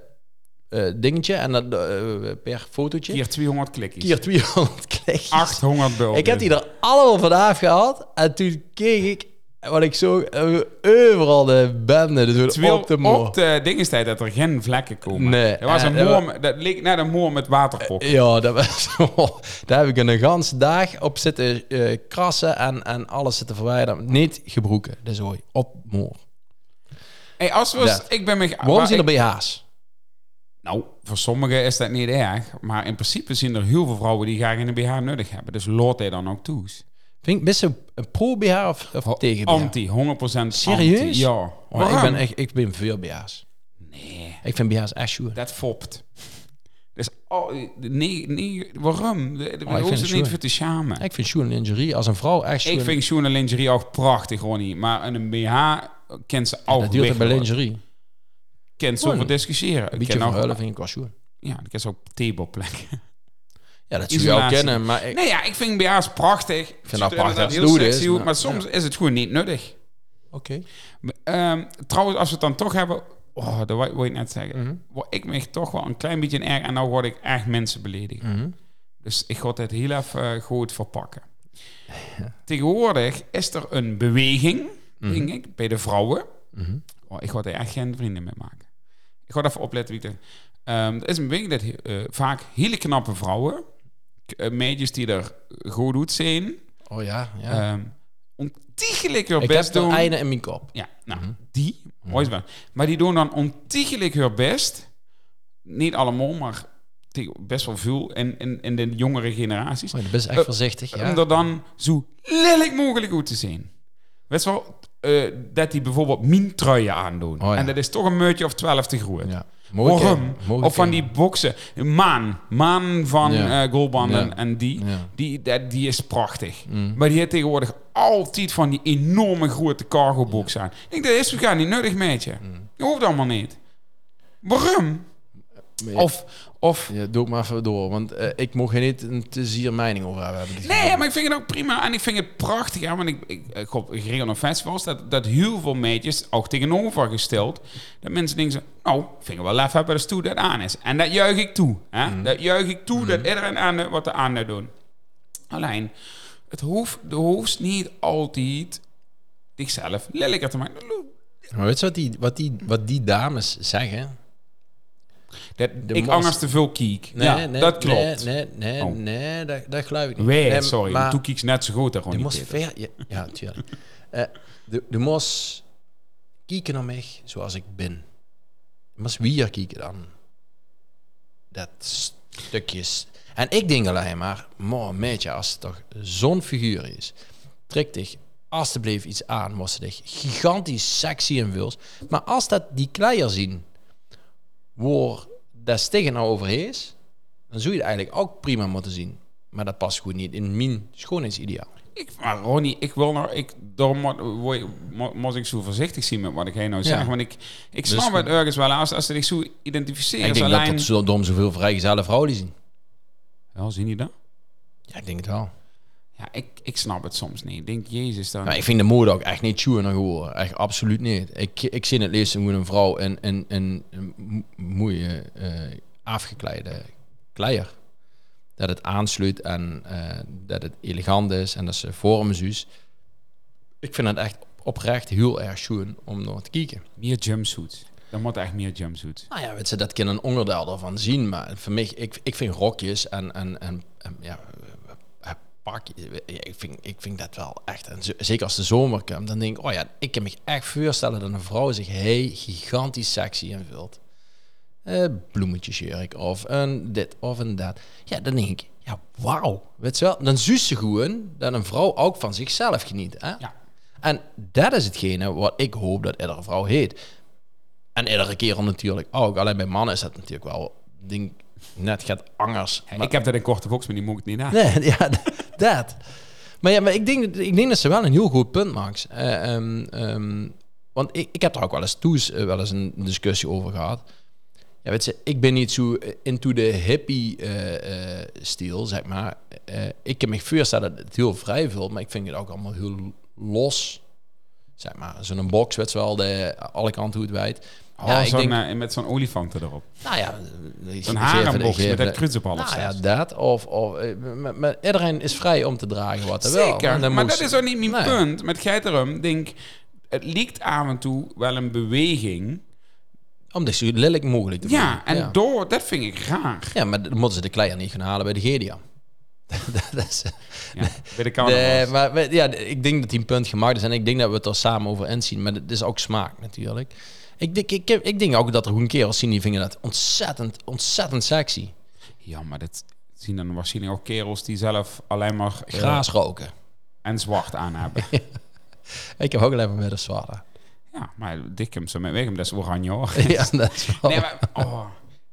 dingetje en dat, eh, per fotootje. Keer 200 klikjes. Keer 200 klikjes. 800 bulten. Ik heb die er allemaal vanaf gehaald en toen keek ik wat ik zo eh, overal de bende dus Terwijl op de moor. op de dingenstijd dat er geen vlekken komen. Nee. Er was een Eh, moor, dat leek naar een moor met waterpop. Ja, dat was, daar heb ik een ganse dag op zitten eh, krassen en, en alles zitten verwijderen. Niet gebroken, dat is hooi. dus Op moor. Hey, als we, Dat. ik ben me... Waarom maar zien er ik- BH's? Nou, voor sommigen is dat niet erg. Maar in principe zien er heel veel vrouwen die graag een BH nodig hebben. Dus lood hij dan ook toe. Vind ik best een een pro-BH of, of Oh, tegen BH? Oh, Anti, 100% anti. Serieus? Ja. Oh, ik, Waarom? ben echt, ik ben veel BH's. Nee, Ik vind BH's echt sure. dat fopt. Dus, oh, nee, nee, waarom? De- de- Oh, ik hoef vind ze het niet zo. voor te schamen. Ik vind sure en lingerie als een vrouw echt sure. Ik vind schoenen lingerie ook prachtig, Ronnie. Maar een BH kent ze ook dat duurt het bij weg. lingerie. Kent ze Oh, over nee. discussiëren. Een Ik beetje ken van ook, huilen vind ik wel sure. ja, ik ken ze ook tableplekken. Ja, dat zou je ook Isolatie. kennen, maar ik, Nee, ja, ik vind BH's prachtig. Ik dat prachtig als het goed is, maar, maar- soms is het gewoon niet nuttig. oké. Ehm, trouwens, als we het dan toch hebben... Oh, dat wou wou ik net zeggen. Mhm. Word ik me echt toch wel een klein beetje in erg... en nou word ik echt mensen beledigd. Mhm. Dus ik ga het heel even eh, goed verpakken. Tegenwoordig is er een beweging, denk ik, bij de vrouwen. Mhm. Oh, ik ga er echt geen vrienden mee maken. Ik ga even opletten wie ik er... Ehm, er is een beweging dat eh, vaak hele knappe vrouwen... k- eh, meisjes die er goed doet zijn... Oh ja, ja. ehm ontiegelijk hun ik best heb doen. er einde in mijn kop. Oh, Ja, nou, die. Mooi is wel. Maar die doen dan ontiegelijk hun best. Niet allemaal, maar tegen- best wel veel in, in, in de jongere generaties. Oh, dat is echt Eh, voorzichtig, ja. Om er dan zo lelijk mogelijk uit te zien. Weet je wel, eh, dat die bijvoorbeeld mintruien aandoen. Oh ja. En dat is toch een meutje of twaalf te groeien. ja. Waarom? kennen, mooi Of van die kennen. boksen. Maan. Maan van Ja. eh, Goldbanden Ja. en die. Ja. Die, dat- die is prachtig. Mm. Maar die heeft tegenwoordig altijd van die enorme grote cargo box aan. Ik denk, dat is toch niet nodig, meidje. Mm. Dat hoeft allemaal niet. Waarom? Maar ja, Of, of... ja, doe het maar even door, want eh, ik mocht er niet een te zier mening over hebben. Nee, maar ik vind het ook prima. En ik vind het prachtig. Ja, want ik, ik, eh, ik op geregeld op festivals dat, dat heel veel meidjes ook tegenovergesteld. Dat mensen denken, zo, nou, vind ik wel lef hebben, dus toe dat aan is. En dat juich ik toe. Hè? Mhm. Dat juich ik toe, dat iedereen aan doet wat de aan doen. Alleen, het hoeft, de hoeft niet altijd zichzelf lelijker te maken. Maar weet je wat die, wat die, wat die dames zeggen? Dat, De ik mos- angst te veel kiek. Nee, ja, nee, dat klopt. Nee, nee, nee, Oh. nee, dat, dat geloof ik niet. Wij, nee, sorry, maar, maar toen kiek net zo goed. Hè, je Ronnie moest Peter. ver... Ja, ja tuurlijk. Eh, de, de moest kijken naar mij zoals ik ben. Je moest weer kijken dan. Dat stukjes. En ik denk alleen maar, man, meidje, als het toch zo'n figuur is, trek dich alsjeblieft iets aan, was ze dich gigantisch sexy en wils. Maar als dat die kleier zien, waar dat stegen nou over is, dan zou je het eigenlijk ook prima moeten zien. Maar dat past gewoon niet in mijn schoonheidsideaal. Ik, maar Ronnie, ik wil nou, ik, daarom mo- word- mo- moet ik zo voorzichtig zien met wat ik heen nou zeg. Ja. Want ik, ik Dus- snap het ergens wel als, als ze zich zo identificeren. ik als denk dat alleen... dat zo dom zoveel vrijgezelle vrouwen die zien. Ja, zien die dat? Ja, ik denk het wel. Ja, ik, ik snap het soms niet. Ik denk, jezus dan. Maar ik vind de mode ook echt niet sure naar geworden. Echt absoluut niet. Ik, ik zie het liefst gewoon een vrouw en een, een, een mo- mooie eh, afgekleide kleier. Dat het aansluit en eh, dat het elegant is en dat ze vormen zus. Ik vind het echt oprecht heel erg schoon om naar te kijken. Meer jumpsuits. Dan moet echt meer jumpsuits. Nou ja, weet ze, dat kan een onderdeel daarvan zien. Maar voor mij, ik, ik vind rokjes en, en, en, en ja, eh, pakjes, eh, ik vind, ik vind dat wel echt. En zo- zeker als de zomer komt, dan denk ik, oh ja, ik kan me echt voorstellen dat een vrouw zich hey, gigantisch sexy invult. Eh bloemetjesjurk of een dit of een dat. Ja, dan denk ik, ja, wauw. Weet je wel, dan zus ze gewoon dat een vrouw ook van zichzelf geniet. Hè? Ja. En dat is hetgene wat ik hoop dat iedere vrouw heet. En iedere kerel natuurlijk ook. Alleen bij mannen is dat natuurlijk wel ding net gaat angers. Hey, Maar- ik heb dat in korte box, maar die moet ik niet aan. Nee, ja, d- dat. Maar ja, maar ik denk, ik denk dat ze wel een heel goed punt maakt. Eh, ehm, ehm, want ik, ik heb er ook wel eens toes eh, wel eens een discussie over gehad. Ja, weet je, ik ben niet zo eh, into de hippie eh, eh, stijl, zeg maar. Eh, ik kan me voorstellen dat het heel vrij vult, maar ik vind het ook allemaal heel los. Zeg maar, zo'n box, weet je wel, de alle kanten hoe het wijd. Oh, ja, ik zo'n, denk, eh, met zo'n olifanten erop. nou ja, Zo'n harenbox met dat kruis op alles. nou ja, dat. Of, of eh, maar, maar iedereen is vrij om te dragen wat er wel. Zeker, maar moet dat ze- is ook niet mijn Nee. punt. Met Geiterum, denk het liekt af en toe wel een beweging. Om dit zo lelijk mogelijk te Ja, maken. en ja. door, dat vind ik raar. Ja, maar dan moeten ze de kleier niet gaan halen bij de Gedia. dat is... Ja, bij de Nee, carnavals. maar we- ja, ik denk dat die een punt gemaakt is. En ik denk dat we het er samen over inzien. Maar het is ook smaak natuurlijk. Ik, denk- ik, heb- ik denk ook dat er gewoon kerels zien die vinden dat ontzettend, ontzettend sexy. Ja, maar dat zien dan waarschijnlijk ook kerels die zelf alleen maar eh, Graas roken. en zwart aan hebben. Ik heb ook alleen maar met zware. ja, maar dik hem zo met weg, dat is oranje hoor. Ja, dat is wel... Nee, maar... Oh.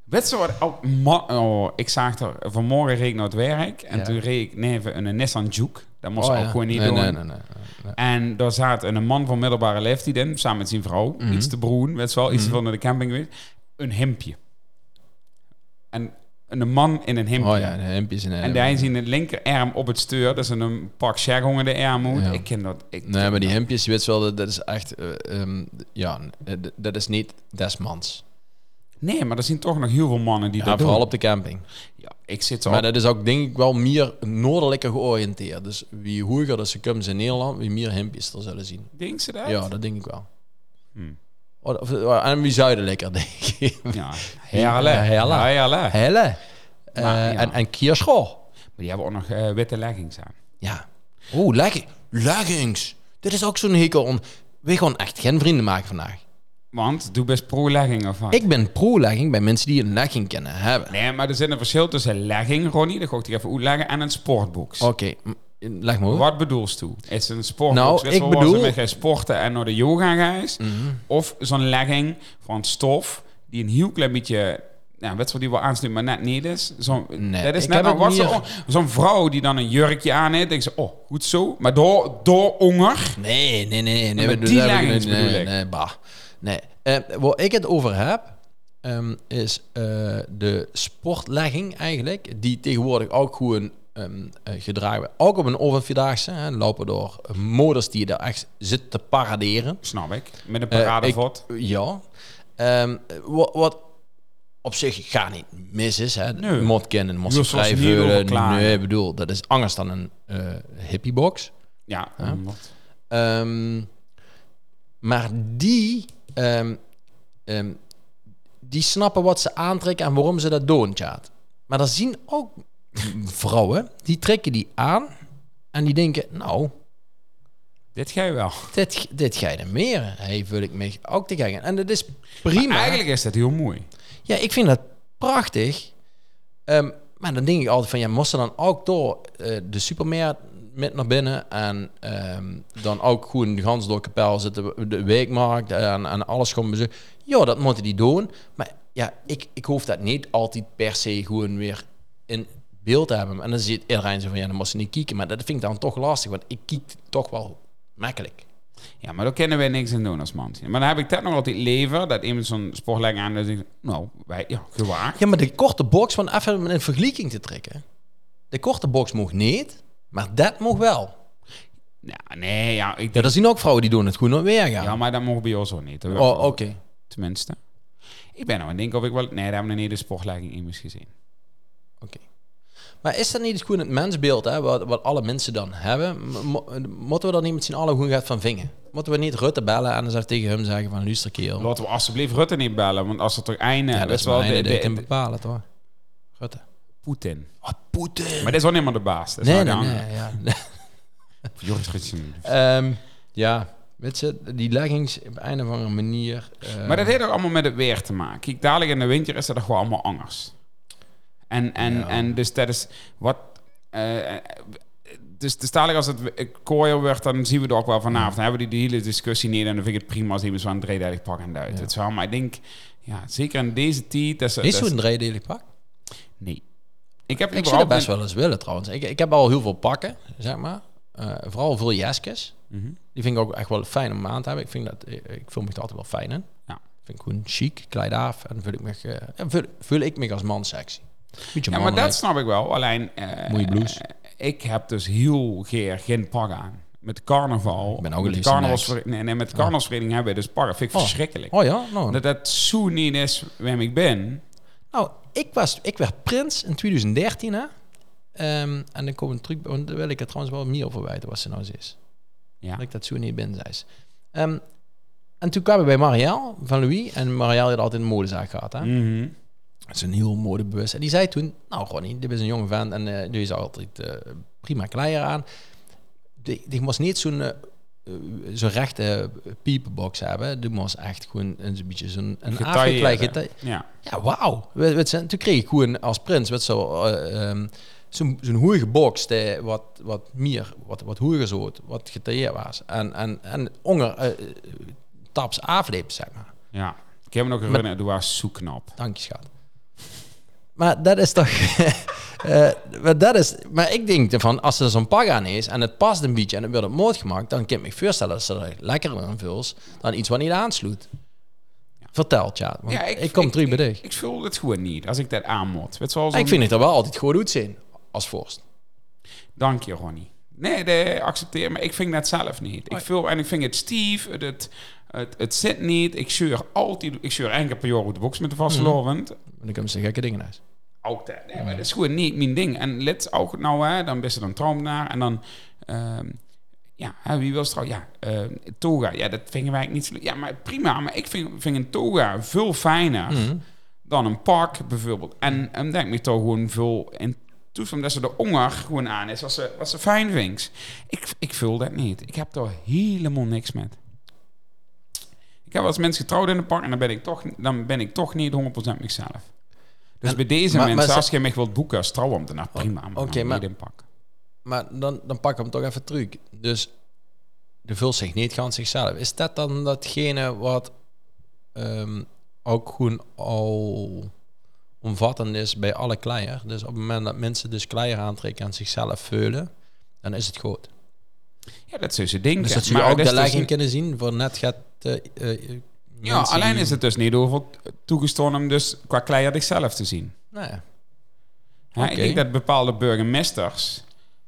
Weet je wat? Oh, ma- oh, ik zag er... Vanmorgen reed ik naar het werk. En Ja. toen reed ik neven een Nissan Juke. Dat moest Oh, ik ook ja. gewoon niet nee, doen. Nee, nee, nee, nee, nee. En daar zat een een man van middelbare leeftijd in. Samen met zijn vrouw. Mhm. Iets te broen. Weet je wel? Iets te veel naar de camping geweest. Een hemdje. En een man in een hemdje. Oh ja, de hempjes en... En daar zien het linkerarm op het stuur. Dus een pak shag onder de arm moet. Ja. Ik ken dat. Ik Nee, maar die hempjes, je weet wel, dat, dat is echt... eh, ehm, ja, eh, d- dat is niet desmans. Nee, maar er zijn toch nog heel veel mannen die Ja, dat vooral doen. Oh. op de camping. Ja, ik zit zo Maar dat is ook denk ik wel meer noordelijker georiënteerd. Dus wie hoger de succumbs in Nederland, wie meer hempjes er zullen zien. Denk ze dat? Ja, dat denk ik wel. Oh, Hmm. Of- of- En wie zuidelijker, denk ik. Ja, heerlijk. Ja, heerlijk. Heerlijk. Helle. Eh, Maar, ja. En, en Kierschool. Maar die hebben ook nog eh, witte leggings aan. Ja. Oeh, legging. leggings. Dit is ook zo'n hekel. om- We gaan echt geen vrienden maken vandaag. Want doe best pro-legging of wat? Ik ben pro-legging bij mensen die een legging kunnen hebben. Nee, maar er zit een verschil tussen legging, Ronnie, dat ga ik je even uitleggen, en een sportbox. Oké, m- leg me over. Wat bedoelst u? Is een sportbox Nou, is wel ik waar ze bedoel- Mhm. met gaan sporten en naar de yoga gaat? Of zo'n legging van stof, die een heel klein beetje... Nou, weet je wel, die wel aansluit, maar net niet is. Zo'n, Nee, dat is ik net heb nog wat het zo- zo'n vrouw die dan een jurkje aan heeft. denkt ze, oh, goed zo. Maar door, door honger. Nee, nee, nee. nee, nee, maar we doen- die daar heb leggings nee, bedoel ik. Nee, bah. Nee. Eh, waar ik het over heb, ehm, is eh, de sportlegging eigenlijk, die tegenwoordig ook gewoon ehm, eh, gedragen wordt. Ook op een overvierdaagse, hè, lopen door moders die daar echt zitten te paraderen. Snap ik. Met een Eh, paradevot. ik- Ja. Ehm, wat, wat op zich gaat niet mis is. Hè. Nee. Mot kennen, mot Juist zoals niet over schrijven. klagen. Nee, ik bedoel, dat is anders dan een eh, hippiebox. ja, omdat- Ehm, maar die, ehm, ehm, die snappen wat ze aantrekken en waarom ze dat doen, Tjaat. Maar dan zien ook vrouwen, die trekken die aan en die denken, nou, Dit ga je wel. dit, dit ga je er meer. Hey, vul ik me ook te kijken. En dat is prima. Eigenlijk is dat heel mooi. Ja, ik vind dat prachtig. Ehm, maar dan denk ik altijd van, ja, moest ze dan ook door eh, de supermarkt met naar binnen en ehm, dan ook gewoon de gans door kapel zitten, de weekmarkt en, en alles gewoon bezoeken. Ja, dat moeten die doen. Maar ja, ik, ik hoef dat niet altijd per se gewoon weer in beeld te hebben. En dan zit iedereen zo van, ja, dan moest ze niet kieken. Maar dat vind ik dan toch lastig, want ik kiek toch wel makkelijk. Ja, maar daar kunnen wij niks aan doen als man. Maar dan heb ik dat nog altijd leven, dat iemand zo'n sportleg aan dat ik, nou, wij, ja, gewaagd. Ja, maar de korte box, van even om een vergelijking te trekken. De korte box mocht niet, maar dat mocht wel. Ja, nee, ja, ik Ja, denk, er zien ook vrouwen die doen het goed naar weer gaan. ja, maar dat mogen bij ons ook niet. hoor. oh, oké. Tenminste. Ik ben nou aan het denken of ik wel, nee, daar hebben we niet de sportlegging in eens gezien. oké. Maar is dat niet gewoon het mensbeeld, hè, wat, wat alle mensen dan hebben? M- mo- Moeten we dan niet met z'n allen goed gaan van vingen? Moeten we niet Rutte bellen en dan zou ik tegen hem zeggen van luister kerel. Laten we alsjeblieft Rutte niet bellen, want als er toch einde, Oh. ja, dat is wel mijn de, idee, de- ik kan de- bepalen toch? Rutte. Poetin. Oh, Poetin. Maar dat is wel niet meer de baas. Dat is Nee, wel nee, de nee. andere. Ja. Joris Gutsen. Ehm, ja, weet je, die leggings op een of andere manier... eh, Maar dat heeft ook allemaal met het weer te maken. Kijk, dadelijk in de winter is dat gewoon allemaal anders. En, en, Ja. en dus dat is wat. eh, eh, dus, dus dadelijk als het eh, kooier wordt, dan zien we het ook wel vanavond. Dan hebben we die hele discussie neer en dan vind ik het prima als iemand zo'n driedelig pak en duidt. Ja. Het wel, maar ik denk, ja, zeker in deze tijd. Dat is, Is dat zo'n is- driedelig pak? Nee. Ik heb Ik zou dat überhaupt best wel eens willen trouwens. Ik, ik heb al heel veel pakken, zeg maar. Eh, vooral veel jaskes. niet- Mhm. Die vind ik ook echt wel fijn om aan te hebben. Ik, vind dat, ik, ik voel me er altijd wel fijn in. Ja. Vind ik gewoon chic, kleid af. En voel ik me, eh, en voel, voel ik me als man sexy. Beetje Ja, maar mannelijk. dat snap ik wel. Alleen. eh, Mooie blouse. ik heb dus heel geer geen pak aan. Met carnaval. Ik ben ook met een carnavalsver- nee, nee, met carnavalsvereniging hebben we dus pakken. Vind ik Oh. verschrikkelijk. Oh ja? Nou, Dat dat zo niet is waar ik ben. nou ik, was, ik werd prins in 2013, hè. Ehm, en dan komt een truc... Want daar wil ik het trouwens wel meer over weten, wat ze nou is. Ja. Dat ik dat zo niet ben, zei ze. Ehm, en toen kwamen we bij Marielle van Louis. En Marielle had altijd een modezaak gehad, hè. Mhm. Dat is een heel modebewust. En die zei toen, nou Ronnie, dit is een jonge vent en eh die is altijd eh, prima kleier aan. Die, die moest niet zo'n eh, eh, zo'n rechte piepenbox hebben. Toen was echt gewoon een beetje zo'n een Getailleerde. Afrika geta- Ja. Ja, wauw. We- we zijn- Toen kreeg ik gewoon als prins met zo, eh, ehm, zo'n zo'n hoeige box die wat, wat meer, wat, wat hoeiger zoot, wat getailleerd was. En, en, en onger eh, eh, taps afleep, zeg maar. ja. Ik heb me nog herinnerd, doe was zo knap. Dank je, schat. Maar dat is toch... eh, maar, dat is, maar ik denk ervan, als er zo'n pak aan is en het past een beetje en het wordt op moord gemaakt, dan kan ik me voorstellen dat ze er lekkerder aan vult dan iets wat niet aansloet. Vertel, ja. Want Ja, ik, kom terug bij Ik, dich. ik voel het gewoon niet als ik dat aanmot. Weet je, zoals Maar ik een- vind het er wel altijd goed uitzien, als vorst. Dank je, Ronnie. Nee, nee, accepteer. Maar ik vind dat zelf niet. Ik voel, en ik vind het Steve, het, het, het, het zit niet. Ik zeur altijd... Ik zeur enkele per jaar op de box met de vastlovend. En dan komen ze gekke dingen uit. altijd. Nee, maar dat is gewoon niet mijn ding. En let ook nou, hè, dan best er een traumnaar. En dan, ehm, ja, hè, wie wil trouw? Ja, ehm, toga. Ja, dat vingen wij niet zo leuk. Ja, maar prima. Maar ik vind, vind een toga veel fijner Mhm. dan een pak bijvoorbeeld. En en denk me toch gewoon veel in toestand dat ze de onger gewoon aan is. Als ze, wat ze fijn vindt. Ik, ik vul dat niet. Ik heb daar helemaal niks met. Ik heb wel eens mensen getrouwd in een pak en dan ben ik toch, dan ben ik toch niet 100% mezelf. Dus bij deze maar- mensen, maar ze- Oh, als je mij wilt boeken als trouwambtenaar, prima. Maar oké, dan maar- niet in pak. Maar dan, dan pak ik hem toch even terug. Dus de vult zich niet gaan zichzelf. Is dat dan datgene wat ehm, ook gewoon al omvattend is bij alle kleier? Dus op het moment dat mensen dus kleier aantrekken en zichzelf vullen, dan is het goed. Ja, dat zou ze denken. Dus dat ze ook is dus de legging niet- kunnen zien voor net gaat... eh, eh, Ja, mensen alleen die- is het dus niet over toegestaan om dus qua kleier zichzelf te zien. Nou ja. Hè, Ik Oké. denk dat bepaalde burgemeesters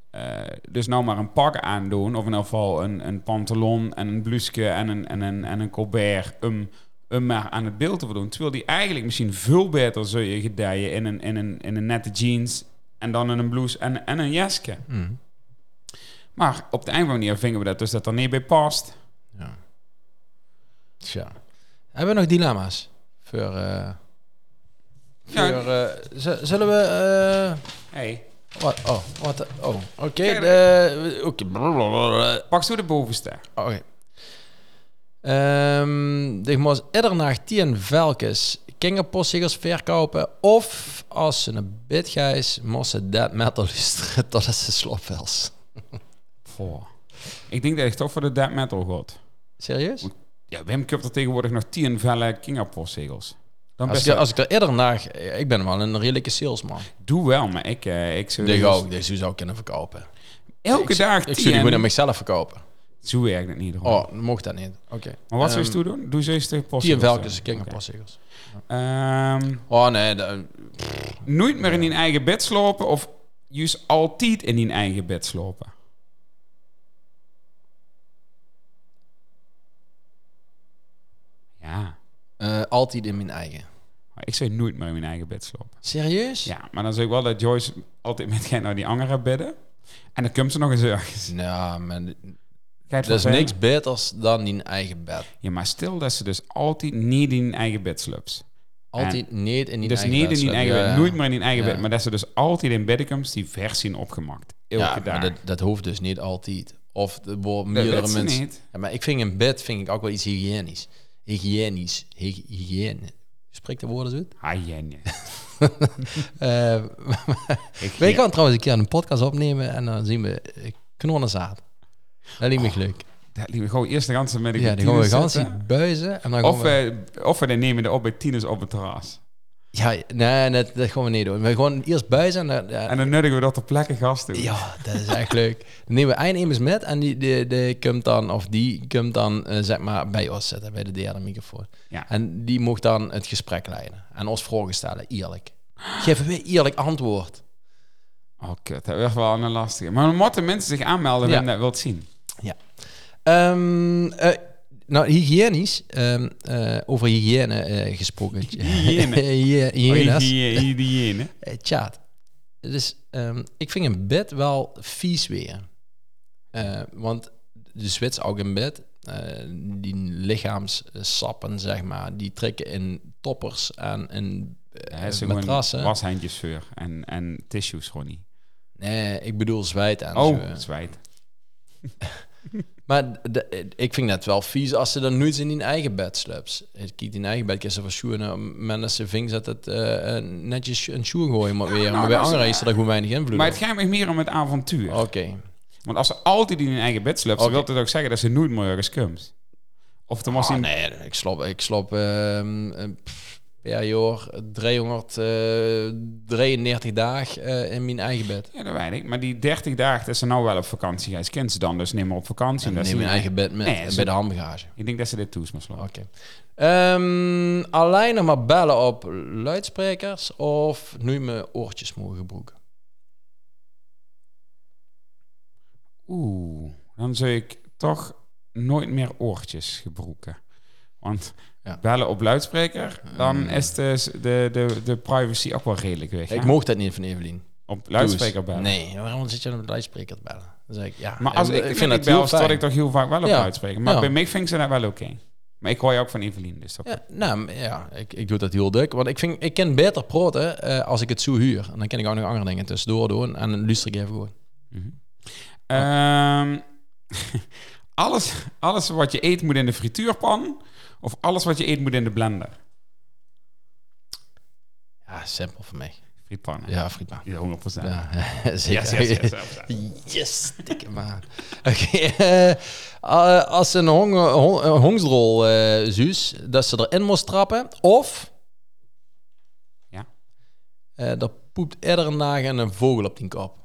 eh, dus nou maar een pak aandoen, of in ieder geval een, een pantalon en een blouseje en een, en een, en een colbert, um, um maar aan het beeld te voldoen. Terwijl die eigenlijk misschien veel beter zou je gedijen in een, in een, in een nette jeans en dan in een blouse en, en een jasje. Mhm. Maar op de een of andere manier vingen we dat dus dat er niet bij past. Ja. Tja. Hebben we nog dilemma's? Voor, eh, voor, Ja. eh, z- zullen we... eh, Hey, wat, oh, wat, oh, oké. Kijk, de- Oké. blablabla. pak zo de bovenste. Oké. Ehm ik moest iedere nacht 10 velkens kingerpostzegels verkopen. Of als ze een bit gijs, moest ze dead metal luisteren totdat ze slopvels. Goh. Ik denk dat ik toch voor de death metal god. Serieus? Ja, Wim Cup er tegenwoordig nog tien velle kingapostzegels. Dan Als best ik, als ik er iedere nacht... Ik ben wel een redelijke salesman. Dus- Doe wel, maar ik, eh ik zou... Die ook, deze zou ik kunnen verkopen. Elke Ik- dag Ik zou die gewoon aan tien. mezelf verkopen. Zo werkt het niet. Ron. Oh, mocht dat niet. Oké. Maar wat zou je Ehm, toe doen? Doe ze eens de post. Die en Velkens, kinkerpostzegels. Ehm, Oh nee, dat- nooit meer in je eigen bed slopen of juist altijd in je eigen bed slopen. Ja, eh, altijd in mijn eigen. maar ik zou nooit meer in mijn eigen bed slopen. Serieus? Ja, maar dan zou ik wel dat Joyce altijd met jij naar die andere bedden. En dan komt ze nog eens eh, ergens. Nou, man, Ga je het er is vervelen? niks beters dan in eigen bed. Ja, maar stil dat ze dus altijd niet in hun eigen bed sloopt. Altijd niet in die Dus eigen niet bed. in hun slapen. eigen Ja, bed, ja. nooit meer in hun eigen Ja. bed. Maar dat ze dus altijd in bedden komt die vers zien opgemaakt. Elke Ja, dag. maar dat, dat hoeft dus niet altijd. Of er worden Dat meerdere weet ze mensen... niet. Ja, maar ik vind een bed vind ik ook wel iets hygiënisch. Hygiënisch. Hy- Hygiëne. Spreek de woorden zo uit? Ah, Jenny. Eh, Wij gaan trouwens een keer een podcast opnemen en dan zien we eh, knonnenzaad. Dat lijkt me leuk. Dat liever gewoon eerst de ganse met de Ja, dan gaan we kantine gaan zitten. zien buizen en dan gaan Of eh, we... we, of we dan nemen de op bij tieners op het terras. Ja, nee, dat, dat gaan we niet doen. We gaan eerst buizen en dan... Ja, En dan nuttigen we dat ter plekke gasten. ja, dat is echt leuk. Dan nemen we eindemers met en die, die, die komt dan, of die komt dan, eh, zeg maar, bij ons zitten, bij de derde microfoon. Ja. En die mocht dan het gesprek leiden en ons vragen stellen, eerlijk. Geven we eerlijk antwoord. Oh, kut. Dat werd wel een lastige. Maar dan moeten mensen zich aanmelden Ja. wanneer je dat wilt zien. Ehm, eh, nou, hygiënisch. ehm, eh, over hygiëne eh, gesproken. Hygiëne. Hygië- Oh, Hygiënes. hygiëne. hygiëne. Eh, Tjaat. Dus ehm, ik vind een bed wel vies weer. Eh, want de Zwits ook in bed. eh, die lichaamssappen, zeg maar, die trekken in toppers en in eh, Hij is gewoon matrassen. washandjes voor en, en tissues, Ronnie. eh. Nee, ik bedoel zwijt en Oh, zo. zwijt. Maar de- ik vind het wel vies als ze dan nooit in hun eigen bed slaapt. Ik kiet in eigen bed, kan ze van schoenen. nou, Mensen zijn ving zet het eh, eh, netjes een schoen gooien, maar weer. maar bij dat is- anderen is er daar gewoon weinig invloed Nou, Maar op. het gaat me meer om het avontuur. Oké. Want als ze altijd in hun eigen bed slaapt, dan Oh. Oké. wil dat ook zeggen dat ze nooit meer ergens komt. Of dan was hij... Ah, nee, ik slop, ik slop ehm, eh, pff, per jaar 333 dagen eh, in mijn eigen bed. Ja, dat weet ik. Maar die 30 dagen dat ze nou wel op vakantie gaat, kent ze dan dus niet meer op vakantie. En Dat neem ze mijn niet- eigen bed met, Nee, is bij de handbagage. Ik denk dat ze dit toes maar slaan. Oké. Ehm, alleen nog maar bellen op luidsprekers of nu mijn oortjes mogen gebroeken. Oeh, dan zou ik toch nooit meer oortjes gebroeken. Want Ja. bellen op luidspreker, dan is de, de, de, de privacy ook wel redelijk weg. Ik hè? mocht dat niet van Evelien. op luidspreker Doe bellen. eens. Nee, waarom zit je dan op de luidspreker te bellen? Dan zeg ik, ja. Maar als en, ik, vind dat heel bel, fijn. dat ik toch heel vaak wel op Ja. luidspreker. Maar Ja. bij mij vind ze dat wel oké. Maar ik hoor je ook van Evelien, dus dat... Ja, nou, m- ja, ik, ik doe dat heel druk. Want ik, vind, ik ken beter proten eh, als ik het zo huur. En dan kan ik ook nog andere dingen tussendoor doen. En dan luister ik even gewoon. Mhm. Ehm, alles, alles wat je eet moet in de frituurpan... of alles wat je eet moet in de blender? Ja, simpel voor mij. Frietpan, hè? Ja, frietma. Ja, 100%. Ja, Yes, zeker. yes, yes, yes. Yes, dikke maat. Oké, eh, eh, als een hong, hong, een hongsrol eh, zuus, dat ze erin moest trappen. Of Ja. eh er poept iedere dagen een vogel op die kop.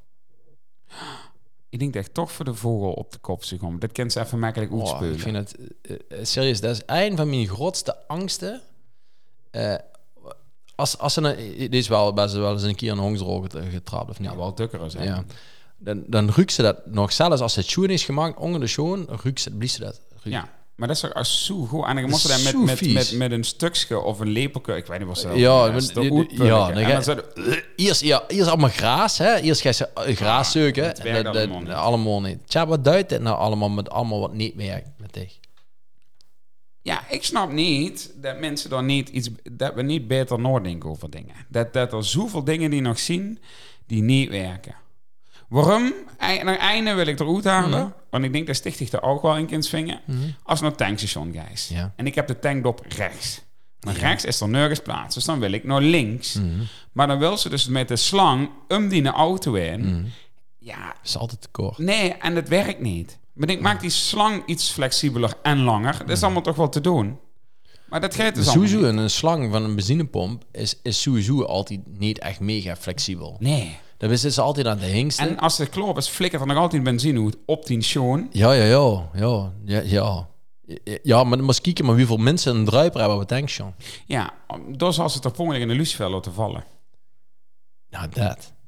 Ik denk dat ik toch voor de vogel op de kop zou komen. Dat kent ze even makkelijk Oh, uitspelen. ik vind het eh, eh, serieus, dat is een van mijn grootste angsten. Eh, als, als ze een, dit is wel best wel eens een keer een hongsrol get- getrapt of niet? Ja, wel dukker zijn. Ja. Dan, dan ruikt ze dat nog zelfs als het schoen is gemaakt onder de schoen, ruikt ze, blies ze dat. Ruikt. Ja, Maar dat is toch als zo goed. En dan Dat moest is ze daar met, zo met, vies. met, met een stukje of een lepelke... Ik weet niet wat ze... Ja, dat is maar toch die- goed die- ja, pulken. dan En ga- dan zou de- Eerst, ja, eerst allemaal graas, hè? Eerst ga je ze eh, graas zeuken. het werkt Dat- dat- allemaal niet. allemaal niet. Tja, wat duidt dit nou allemaal met allemaal wat niet werkt met dich? Ja, ik snap niet dat mensen dan niet iets... Dat we niet beter nadenken over dingen. Dat, dat er zoveel dingen die nog zien die niet werken. Waarom? Ei- Naar einde wil ik eruit halen. Want ik denk dat sticht zich er ook wel in kunt vingen. Als naar het tankstation, guys. Ja. En ik heb de tankdop rechts. Maar rechts is er nergens plaats. Dus dan wil ik naar links. Maar dan wil ze dus met de slang om die auto in. Ja, Dat is altijd te kort. Nee, en dat werkt niet. Maar ik maak die slang iets flexibeler en langer. Dat is allemaal toch wel te doen. Maar dat gaat dus allemaal Sowieso niet. een een slang van een benzinepomp is, is sowieso altijd niet echt mega flexibel. Nee. Dat is ze altijd aan de hingsten. En als de klop is, flikkert er nog altijd benzine uit op die schoon. Ja, ja, ja, ja, ja, ja. Ja, maar dan moet je kijken maar hoeveel mensen een druiper hebben op het tankstation. Ja, dus als het er per ongeluk in de lucifel laten vallen. Nou, dat.